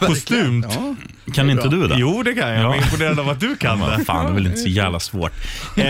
C: Postumt.
E: Ja.
B: kan inte du det?
C: Jo, det kan jag. Jag är imponerad av att du kan det.
B: Fan, det är väl inte så jävla svårt. Eh,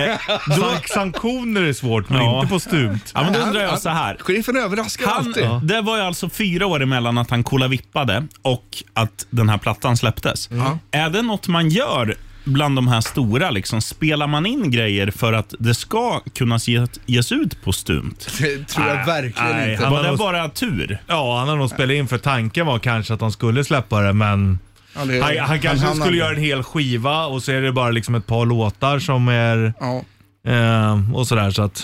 B: då,
C: Sank- Sanktioner är svårt, men
B: Ja.
C: inte postumt.
B: ja, men då undrar jag så här.
E: Sheriffen överraskar
B: Han,
E: alltid.
B: Det var ju alltså fyra år emellan att han kollavippade och att den här plattan släpptes.
E: Mm.
B: Är det något man gör bland de här stora? Liksom, spelar man in grejer för att det ska kunna ge, ges ut på stumt?
E: Det tror jag verkligen
C: nej,
E: inte.
C: han-
B: Var det
C: nog-
B: bara tur?
C: Ja, han har nog spelat in för tanken var kanske att han skulle släppa det, men
E: Ja, det-
C: han, han kanske
E: hann
C: skulle
E: aldrig.
C: göra en hel skiva och så är det bara liksom ett par låtar som är...
E: Ja,
C: Eh, och sådär så att...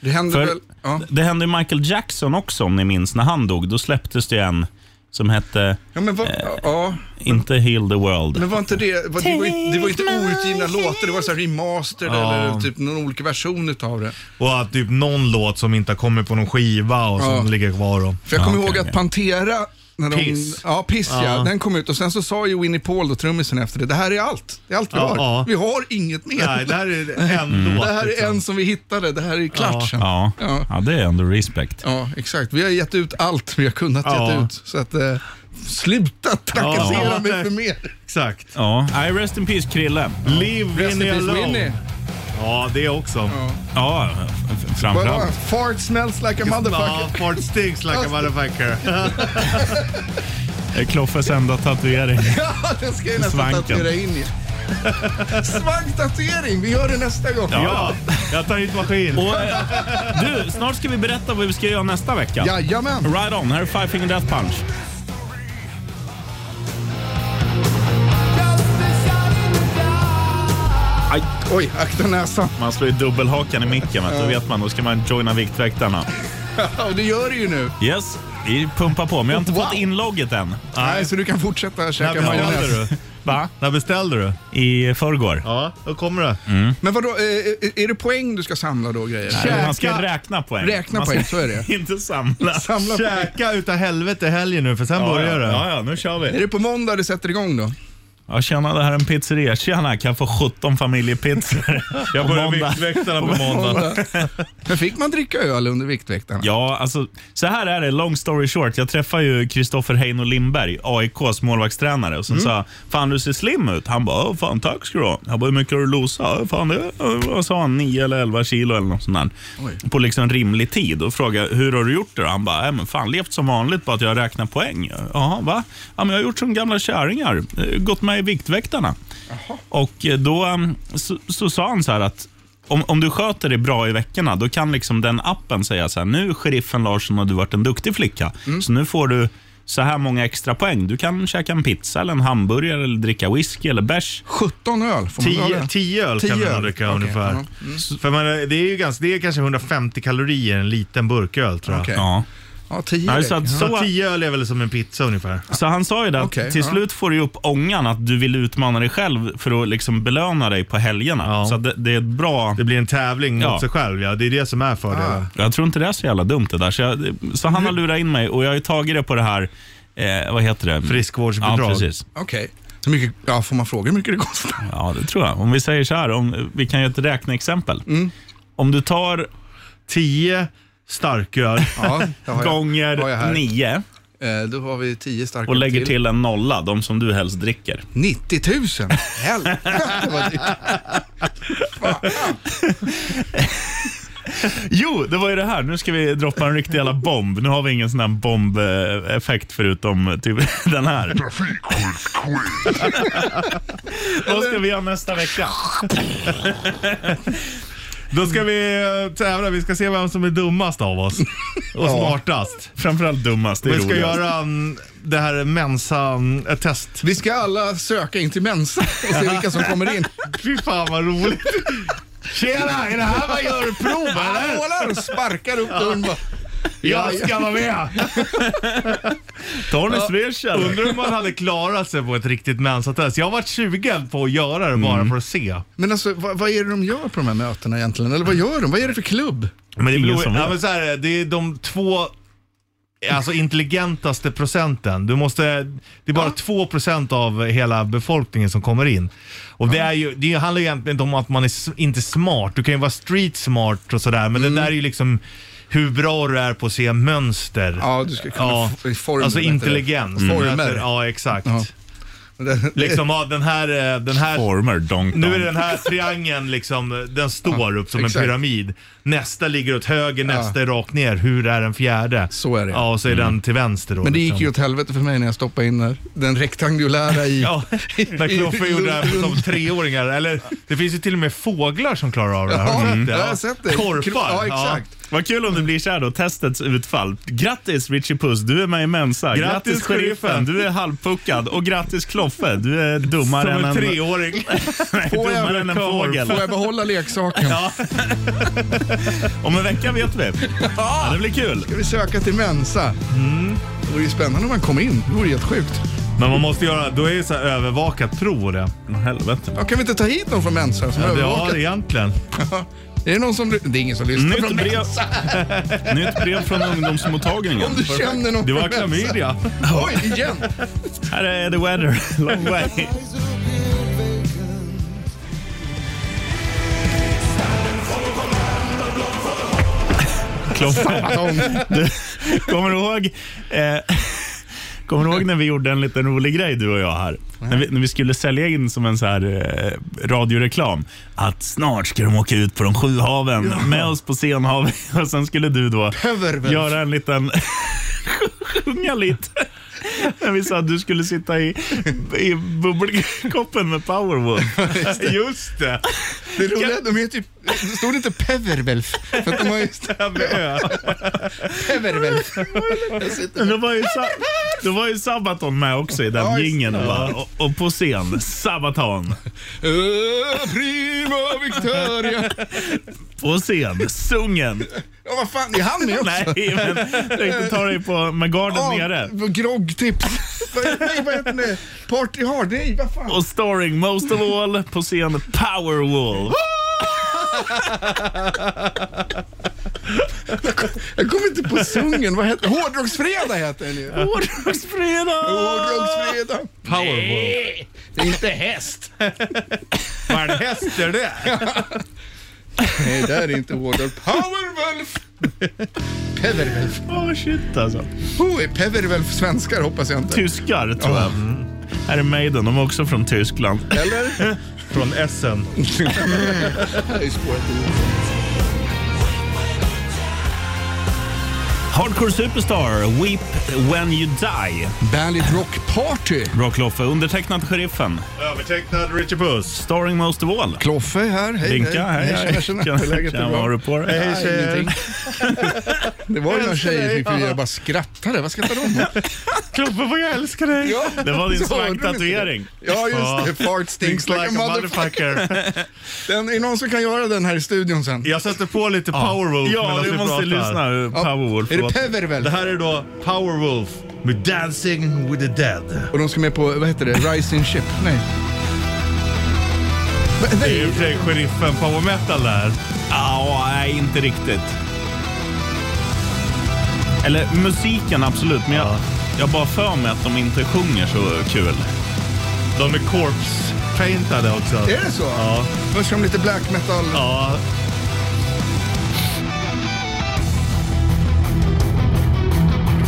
E: det hände
B: För-
E: väl... Ja.
B: Det hände ju Michael Jackson också om ni minns när han dog. Då släpptes det en som hette
E: Ja, men vad...
C: Eh.
E: ja,
B: Inte Heal the World.
E: men var inte det... Var, det, var inte, det var inte outgivna låtar, det var så här remaster eller typ någon olika version utav det.
C: Och att typ någon låt som inte har kommit på någon skiva och som
E: Ja.
C: ligger kvar då.
E: För jag kommer
B: Ja, okej,
E: ihåg
B: okej.
E: att Pantera, när de,
C: Piss.
E: Ja, Piss ja. Den kom ut och sen så sa ju Winnie Paul, då, trummisen efter det, det här är allt. Det är allt vi
C: Ja,
E: har.
C: ja.
E: Vi har inget mer.
C: Nej, det här är en låt.
E: Det här är
C: liksom.
E: en som vi hittade, det här är klart sen.
B: Ja.
E: Ja.
B: ja, det är ändå respect.
E: Ja, exakt. Vi har gett ut allt vi har kunnat
C: Ja.
E: gett ut. Så att, eh, sluta trakassera
C: Ja.
E: mig för mer.
C: Exakt.
B: Ja, Nej, rest in peace Krille. Mm.
C: Leave
E: Rest in
C: Winnie
E: peace,
C: alone.
E: Winnie.
C: Ja, det också.
B: Ja, f- framförallt.
E: Vadå? Fart smells like
C: Ja,
E: a motherfucker.
C: fart stinks like a motherfucker. Eh,
B: Det är Kloffes enda tatuering.
E: Ja, det ska jag nästan
B: Svanken.
E: tatuera in i. Svanktatuering, vi gör det nästa gång.
C: Ja, jag tar hit maskin.
B: Och, eh, du, snart ska vi berätta vad vi ska göra nästa vecka.
E: Jajamän.
B: Right on, här är Five Finger Death Punch.
E: Aj, oj, akta näsan.
B: Man slår ju dubbelhakan i micken, vet du. då vet man. Då ska man joina Viktväktarna.
E: Och det gör det ju nu.
B: Yes, vi pumpar på, men jag har inte
E: Wow.
B: fått inlogget än.
E: Nej, så du kan fortsätta
C: Här
E: käka
C: behåller
E: majonnäs.
C: du.
B: Va?
C: När beställde du?
B: I förrgår.
C: Ja, då kommer det.
E: Men vadå, eh, är- är det poäng du ska samla då grejer?
B: Nej, Alltså, man ska räkna poäng.
E: Räkna
B: Man ska
E: poäng, så är det.
B: Inte samla.
E: Samla poäng.
C: Käka utav helvete helgen nu för sen
B: Ja,
C: börjar
B: ja.
C: det.
B: Ja, ja, nu kör
E: Är
B: vi.
E: det på måndag det sätter igång då?
B: Ja, tjena, det här är en pizzeria. Tjena, kan jag få 17 familjepizzor?
C: Jag
B: på
C: börjar
B: måndag?
C: Viktväktarna på måndag.
E: Men fick man dricka öl under Viktväktarna?
B: Ja, alltså så här är det. Long story short. Jag träffade ju Kristoffer Heino Lindberg, AIKs målvaktstränare. Och sen sa fan du ser slim ut. Han bara, "Ja, fan tack ska du ha. Jag bara, hur mycket har du losat? "Ja, Fan, det, är-" vad sa han, 9 eller 11 kilo eller något sånt där.
E: Oj.
B: På liksom rimlig tid. Och frågade, hur har du gjort det då? Han bara, "Nej, men fan levt som vanligt, bara att jag räknar poäng. Jaha, va? Ja, men jag har gjort som gamla kärringar. Eh, Gått med i Viktväktarna. Och eh, då um, så, så sa han så här att om, om du sköter dig bra i veckorna, då kan liksom den appen säga så här, nu sheriffen Larsson har du varit en duktig flicka,
E: Mm.
B: så nu får du så här många extra poäng. Du kan käka en pizza, eller en hamburgare, eller dricka whisky eller bärs.
E: 17 öl, får man
C: Tio,
E: göra
C: tio öl Mm. kan
E: Tio
C: man
E: öl.
C: dricka
E: Okej,
C: ungefär.
E: ja.
C: För man, det, är ju ganska, det är kanske 150 kalorier en liten burköl tror jag.
E: Okej.
B: Ja.
E: Ja, 10
B: Nej, så att-
E: räcker.
C: Så tio öl är väl som en pizza ungefär.
B: Så han sa ju det att
E: Okej,
B: till
E: ja.
B: slut får du upp ångan att du vill utmana dig själv för att liksom belöna dig på helgerna.
C: Ja.
B: Så att det, det är ett bra...
C: Det blir en tävling mot
B: Ja.
C: sig själv ja. Ah. Det är det som är fördelen.
B: Jag tror inte det är så jävla dumt det där. Så, jag, så han har
E: Mm.
B: lurat in mig och jag har ju tagit det på det här, eh, vad heter det?
C: Friskvårdsbidrag.
B: Ja, precis.
E: Okej. Så mycket, ja, får man fråga hur mycket det kostar?
B: Ja, det tror jag. Om vi säger så här, om, vi kan göra ett räkneexempel.
E: Mm.
B: Om du tar
C: Tio starköl.
E: Ja, det har jag. har jag
B: gånger
E: här.
B: nio
E: Eh, då har vi 10 starka
B: och lägger till en nolla, de som du helst dricker.
E: 90 000! Helvete vad dyrt.
B: Jo, det var ju det här. Nu ska vi droppa en riktig jävla bomb. Nu har vi ingen sån här bombeffekt förutom eh, typ den här. Vad ska vi göra nästa vecka?
C: Då ska vi eh, tävla. Vi ska se vem som är dummast av oss. Och smartast.
B: Framförallt dummast, det är
C: Vi ska
B: roligast.
C: göra mm, det här eh, Mensa-test.
E: Vi ska alla söka in till Mensa och se vilka som kommer in.
C: Fy fan vad roligt. Tjena, är det här vad gör prov eller?
E: Målar och sparkar upp dörren bara.
C: Jag ska vara med.
B: Tony Swish eller?
C: Undrar om man hade klarat sig på ett riktigt mensatest. Jag har varit 20 på att göra det bara för att se.
E: Men alltså, vad, vad är det de gör på de här mötena egentligen? Eller vad gör de? Vad är det för klubb?
C: Men det,
B: Ingen
C: beror,
B: som
C: ja,
B: vet.
C: men så här, är det. det är de två alltså intelligentaste procenten. Du måste, det är bara 2 procent av hela befolkningen som kommer in. Och det, är ju, det handlar ju egentligen inte om att man är s- inte smart. Du kan ju vara street smart och sådär, men
E: Mm.
C: det där är ju liksom hur bra du är på att se mönster.
E: Ja, du ska kunna f- i former,
C: Alltså
E: heter det.
C: intelligens.
E: Former.
C: Ja, exakt.
E: Ja.
C: Liksom, ja, den här, eh, den här
B: Former, donk,
C: nu är
B: donk.
C: den här triangeln liksom, den står upp som en
E: exakt.
C: pyramid. Nästa ligger åt höger, nästa är rakt ner. Hur är den fjärde?
E: Så är det. Mm.
C: Ja, och så är den till vänster då.
E: Men det gick ju
C: liksom.
E: åt helvete för mig när jag stoppade in den- den rektangulära i...
C: Ja, när Kloffe gjorde det här
E: Lund-
C: som treåringar. Eller, det finns ju till och med fåglar som klarar av det här. Har
E: Ja,
C: du sett det?
E: jag har sett det.
C: Korpar.
E: Ja, exakt.
B: Vad kul om det blir så här då, testets utfall. Grattis Richie Puss, du är med i Mensa.
C: Grattis, sheriffen.
B: du är halvpuckad. Och grattis Kloffe, du är dummare
C: Som
B: än
C: en treåring.
B: Nej,
E: Får jag-
B: dummare än en fågel.
E: Får jag behålla leksaken?
B: Om en vecka vet vi. Ja, det blir kul.
E: Ska vi söka till Mensa?
C: Mm.
E: Det vore ju spännande om man kom in. Det vore helt sjukt.
C: Men man måste göra, då är det så här övervakat prov och det.
B: Helvete.
E: Ja, kan vi inte ta hit någon från Mensa som
C: Ja, det
E: övervakar?
C: har egentligen.
E: Är det någon som... Det är ingen som lyssnar
B: Nytt
E: från
B: brev,
E: Mensa.
B: nytt brev från ungdomsmottagningen.
E: Om du känner någon
C: Det var
E: från Mensa.
C: klamydia.
E: Oj, igen.
B: Här är The Weather, Long Way. Kloffe, du, kommer du ihåg eh, Kommer du ihåg när vi gjorde en liten rolig grej du och jag här? När vi, när vi skulle sälja in som en så här eh, radioreklam att snart ska de åka ut på de sju haven med oss på Senhaven och sen skulle du då
E: Över.
B: göra en liten sjunga lite. När vi sa att du skulle sitta i, i bubbelkoppen med Powerwood.
C: Just det.
E: Det roliga, de heter ju... Stod det inte Peverwelf? För att de har just
C: Med ö.
E: Peverwelf.
B: Men Då var ju, Sa- då var ju Sabaton med också i den
E: Ja, just-
B: jingeln. va? Och, och på scen, Sabaton. Eh,
E: Ö, Prima Victoria.
B: På scen, sungen.
E: Ja, vad fan, är han med också?
B: Nej, men jag tänkte ta dig på, med garden nere.
E: Groggtips. typ. Vad heter- nej, vad heter det? Party Hard? Nej, vad fan?
B: Och starring most of all på scen Powerwall.
E: Jag kommer inte på sungen. Vad heter Hårdrocksfredag heter den ju.
B: Hårdrocksfredag!
E: Hårdrocksfredag.
C: Powerwall.
E: Det är inte häst.
C: Vad är det häst är det?
E: Nej, det här är inte hårdrock. Powerwolf! Peverwolf.
B: Åh shit alltså.
E: Oh, är Peverwolf svenskar hoppas jag
B: Typ.
E: inte.
B: Tyskar tror jag. Mm. Här är Maiden, de är också från Tyskland.
E: Eller?
C: Från Essen.
E: Det är ju spåret i.
B: Hardcore Superstar, Weep When You Die.
E: Bandit Rock Party.
B: Rockloffe, undertecknad Sheriffen.
C: Övertecknad Richard Puss.
B: Starring most of all.
E: Kloffe här. Hej,
B: Linka, hej,
E: hej.
B: hej.
E: Tjena, tjena. Hur är läget? Det är
B: Tjena, vad har
E: bra.
B: du på dig?
C: Hej
E: Nej,
C: tjejer.
E: ingenting. Det var ju några tjejer som gick förbi och jag bara skrattade. Vad skrattar de åt?
C: Kloffe vad jag älskar dig.
E: Ja,
B: Det var din
E: så hörde de inte
B: svanktatuering.
E: det. Ja, just det. Fart stinks like a motherfucker. Den, är det någon som kan göra den här i studion sen?
C: Jag sätter på lite Powerwolf
B: Ja,
C: medan
B: du måste
C: pratar.
B: lyssna. Powerwolf.
E: Är det
B: låten.
E: Peverwolf?
C: Det här är då Powerwolf med Dancing with the Dead.
E: Och de ska med på, vad heter det, Rising Ship? Nej. Va-
C: Det är
E: Nej,
C: ju för sig sheriffen power metal där.
B: Ja, nej, inte riktigt. Eller musiken absolut, men jag, jag har bara för mig att de inte sjunger så kul.
C: De är corpse-paintade också.
E: är det så? Ja. Först som lite black metal.
C: Ja.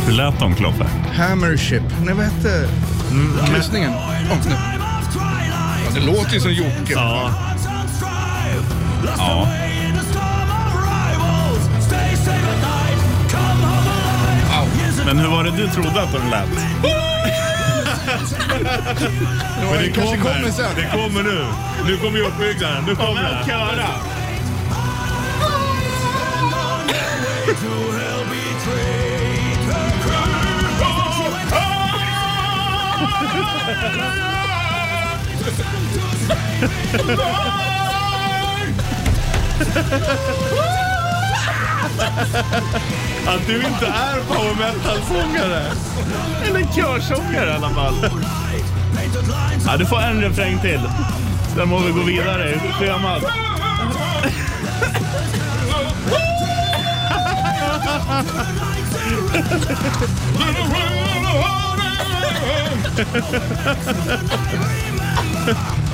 B: Hur lät de, Kloffe?
E: Hammer Ship. Nej, vad hette kryssningen? Oh, nu. ja, det låter ju som Jocke.
C: ja.
B: Ja. Men hur var det du trodde att de lät?
E: Ja, det kanske kommer sen.
C: Det kommer nu. Nu kommer uppbyggnaden. Nu kommer det.
B: Köra!
C: Att du inte är power metal-sångare.
B: Eller körsångare i alla fall. Ja, du får en refräng till. Sen må vi gå vidare i schemat.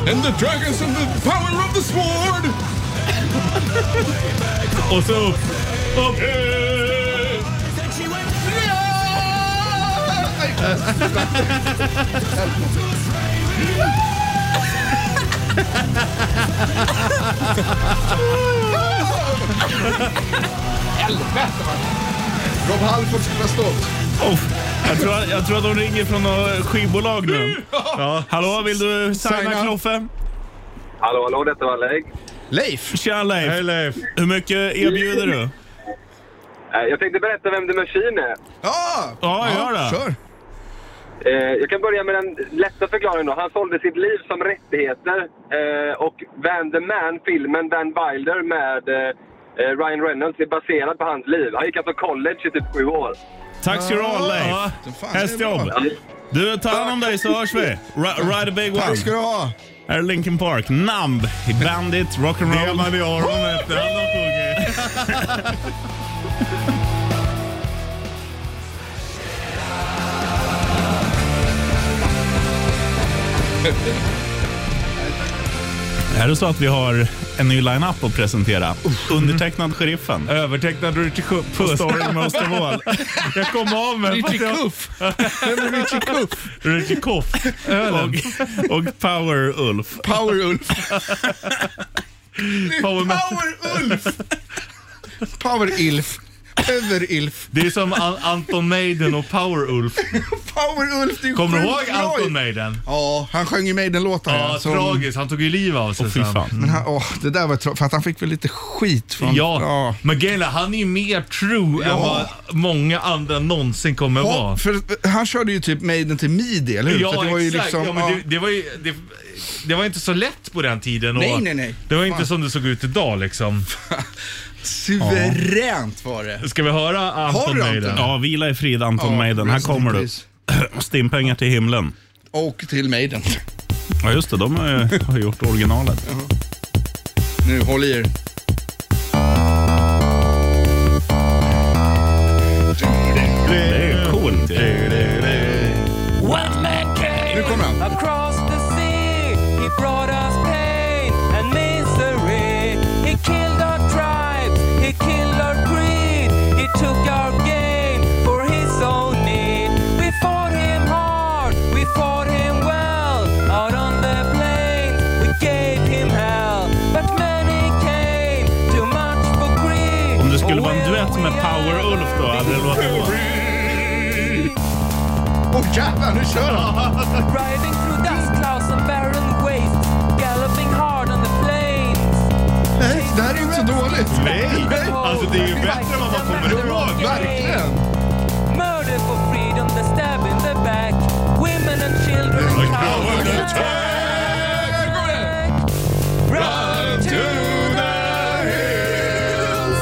E: And the dragons of the power of the sword!
C: Och så upp. Upp.
E: Rob Halford ska vara stolt.
B: Oh, jag, tror, jag tror att de ringer från något skivbolag nu. Ja. Hallå, vill du signa
E: Signa.
B: Kloffe?
H: Hallå, hallå, detta var Lägg.
E: Leif!
B: Tja Leif!
C: Hej Leif.
B: Hur mycket erbjuder du?
H: Eh, Jag tänkte berätta vem The Machine är.
E: Ja!
B: Ja, gör det.
E: Kör!
H: Eh, Jag kan börja med den lätta förklaringen. Då. Han sålde sitt liv som rättigheter eh, och Van the Man, filmen Van Wilder med eh, eh, Ryan Reynolds är baserad på hans liv. Han gick alltså college i typ sju år.
B: Tack ska du ha Leif!
E: Fan, det är
B: Hästjobb!
E: bra.
B: Du, ta hand om dig så hörs vi. Ri- Ride a big
E: Tack
B: one.
E: ska du ha!
B: Här är Linkin Park, Numb, Bandit,
C: Det
B: Rock'n'Roll.
C: man i öronen efter han har sjungit.
B: Är det så att vi har en ny line-up att presentera? Undertecknad Sheriffen.
C: Övertecknad Richie Kuff.
B: På Starring Most of All.
C: Jag kom av mig.
E: Richie Kuff! Vem är Richie Kuff?
B: Ricky Koff. Och, och Power-Ulf.
E: Power-Ulf. Power-Ulf! Power-Ilf. Över-Ilf.
C: Det är som An- Anton Maiden och Power-Ulf.
E: Power-Ulf, det är ju
C: Kommer du
E: sjukt
C: ihåg
E: bra ju.
C: Anton Maiden?
E: Ja, han sjöng ju Maiden-låtar.
C: Ja,
E: som-
C: tragiskt. Han tog ju livet av sig
B: Fy
C: sen.
B: fan.
E: Men han, åh, det där var tra- för att han fick väl lite skit från...
C: Ja, men grejen är, han är ju mer true än vad många andra någonsin kommer
E: Ja,
C: vara.
E: för han körde ju typ Maiden till midi, eller hur?
C: Ja,
E: Så det var ju
C: exakt.
E: liksom,
C: ja, men
E: ja.
C: det, det var ju, det, det var inte så lätt på den tiden.
E: Nej, nej, nej.
C: Det var inte
E: Fan.
C: som det såg ut idag liksom.
E: Suveränt var det.
C: Ska vi höra
E: Har
C: Anton
E: du
C: Maiden?
E: Anton?
B: Ja, vila i frid Anton
E: Ja,
B: Maiden. Här
E: rest in
B: kommer du.
E: peace.
B: Stimpengar till himlen.
E: Och till Maiden.
B: Ja, just det. De har ju har gjort originalet.
E: Nu, håll i er.
B: Det är ju coolt.
K: What man came
E: Nu kommer han.
K: across the sea. He brought us pain and misery. He killed our tribes. He killed our greed. He took our gain for his own need. We fought him hard. We fought him well. Out on the plains, we gave him hell. But many came. Too much for greed. Oh,
B: Om det skulle vara en duett med Power-Ulf då, hade det låtit då?
K: Åh oh, jävlar, nu kör han! Driving through dust clouds and barren wastes Galloping hard on the plains
E: Nej, det här är inte så dåligt.
C: Nej, alltså det är ju bättre än vad man kommer ihåg.
E: Verkligen.
K: Murder for freedom, the stab in the back Women and children cowards attack Run to the hills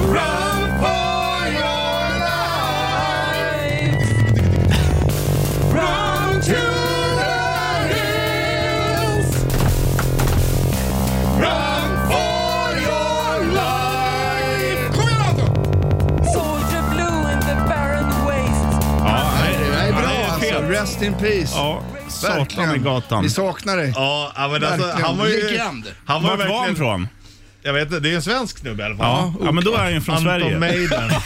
K: Run for your lives Run to the hills Run for your life Kom igen Anton! Soldier blue in the barren wastes
B: Ja,
E: Det här är bra alltså.
B: fet.
E: Rest in peace.
B: Ja, Satan i gatan.
E: Vi saknar dig.
C: Ja, ja, men alltså,
E: Verkligen.
C: han var ju...
E: Legend.
C: Han var ju
B: Vart var han
C: verkligen-
B: ifrån?
C: Jag vet inte, det är en svensk snubbe i alla fall.
B: Ja, ja, men då är han ju från
C: Anton
B: Sverige.
C: Maiden.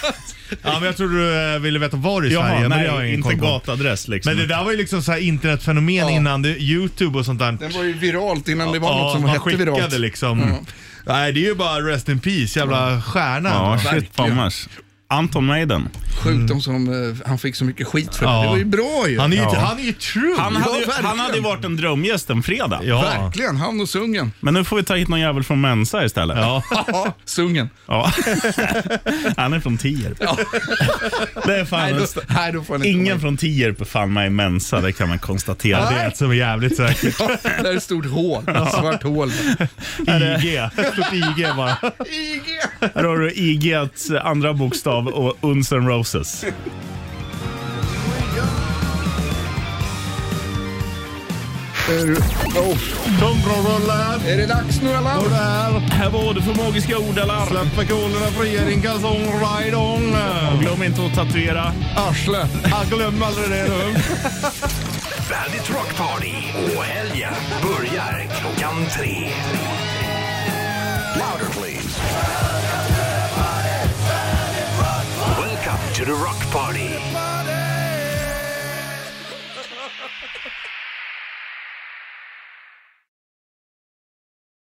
C: Ja, men jag tror du eh, ville veta var i
B: Jaha,
C: Sverige, men
B: nej,
C: det har jag ingen
B: inte
C: koll på.
B: gatadress, liksom.
C: Men det där var ju liksom så här internetfenomen innan det, Youtube och sånt där.
E: Den var ju viralt innan det Mm. var något som
C: man
E: hette
C: skickade
E: viralt.
C: liksom. Nej, det är ju bara rest in peace, jävla stjärna.
B: Ja,
C: Verkligen.
B: shit fan mars. Anton Maiden.
E: Sjukt om som eh, han fick så mycket skit för det.
C: Ja.
E: Det var ju bra ju.
C: Han är ju,
B: Ja.
C: han är ju true.
B: Han hade, ju,
E: Ja, verkligen.
B: han hade ju varit en drömgäst en fredag.
C: Ja.
E: Verkligen, han och Sungen.
B: Men nu får vi ta hit någon jävel från Mensa istället.
C: Ja.
E: Ja, Sungen.
B: Ja. Han är från Tierp. Det är fan
E: Nej, då,
B: en st-
E: nej, då får han inte
B: Ingen från Tierp är fan med i Mensa, det kan man konstatera.
C: Det
B: Det
C: är ett som är jävligt säkert.
E: komma med. Ja, där är ett stort hål. Ett svart hål.
C: IG. Stort IG bara.
E: IG!
B: är- Här har du IGs andra bokstav och Uns N' Roses.
E: Är, du- oh,
C: Kom från rollen.
E: är det dags nu
C: Och
E: eller?
C: där.
B: Här var det för magiska ord, eller?
C: Släpper kolorna fria i din kalsong. Ride on.
B: Glöm inte att tatuera.
E: Arsle.
C: Ah, Glöm aldrig det du.
A: Bandit Rock Party och helgen börjar klockan tre. Louder please. Welcome to the Rock Party.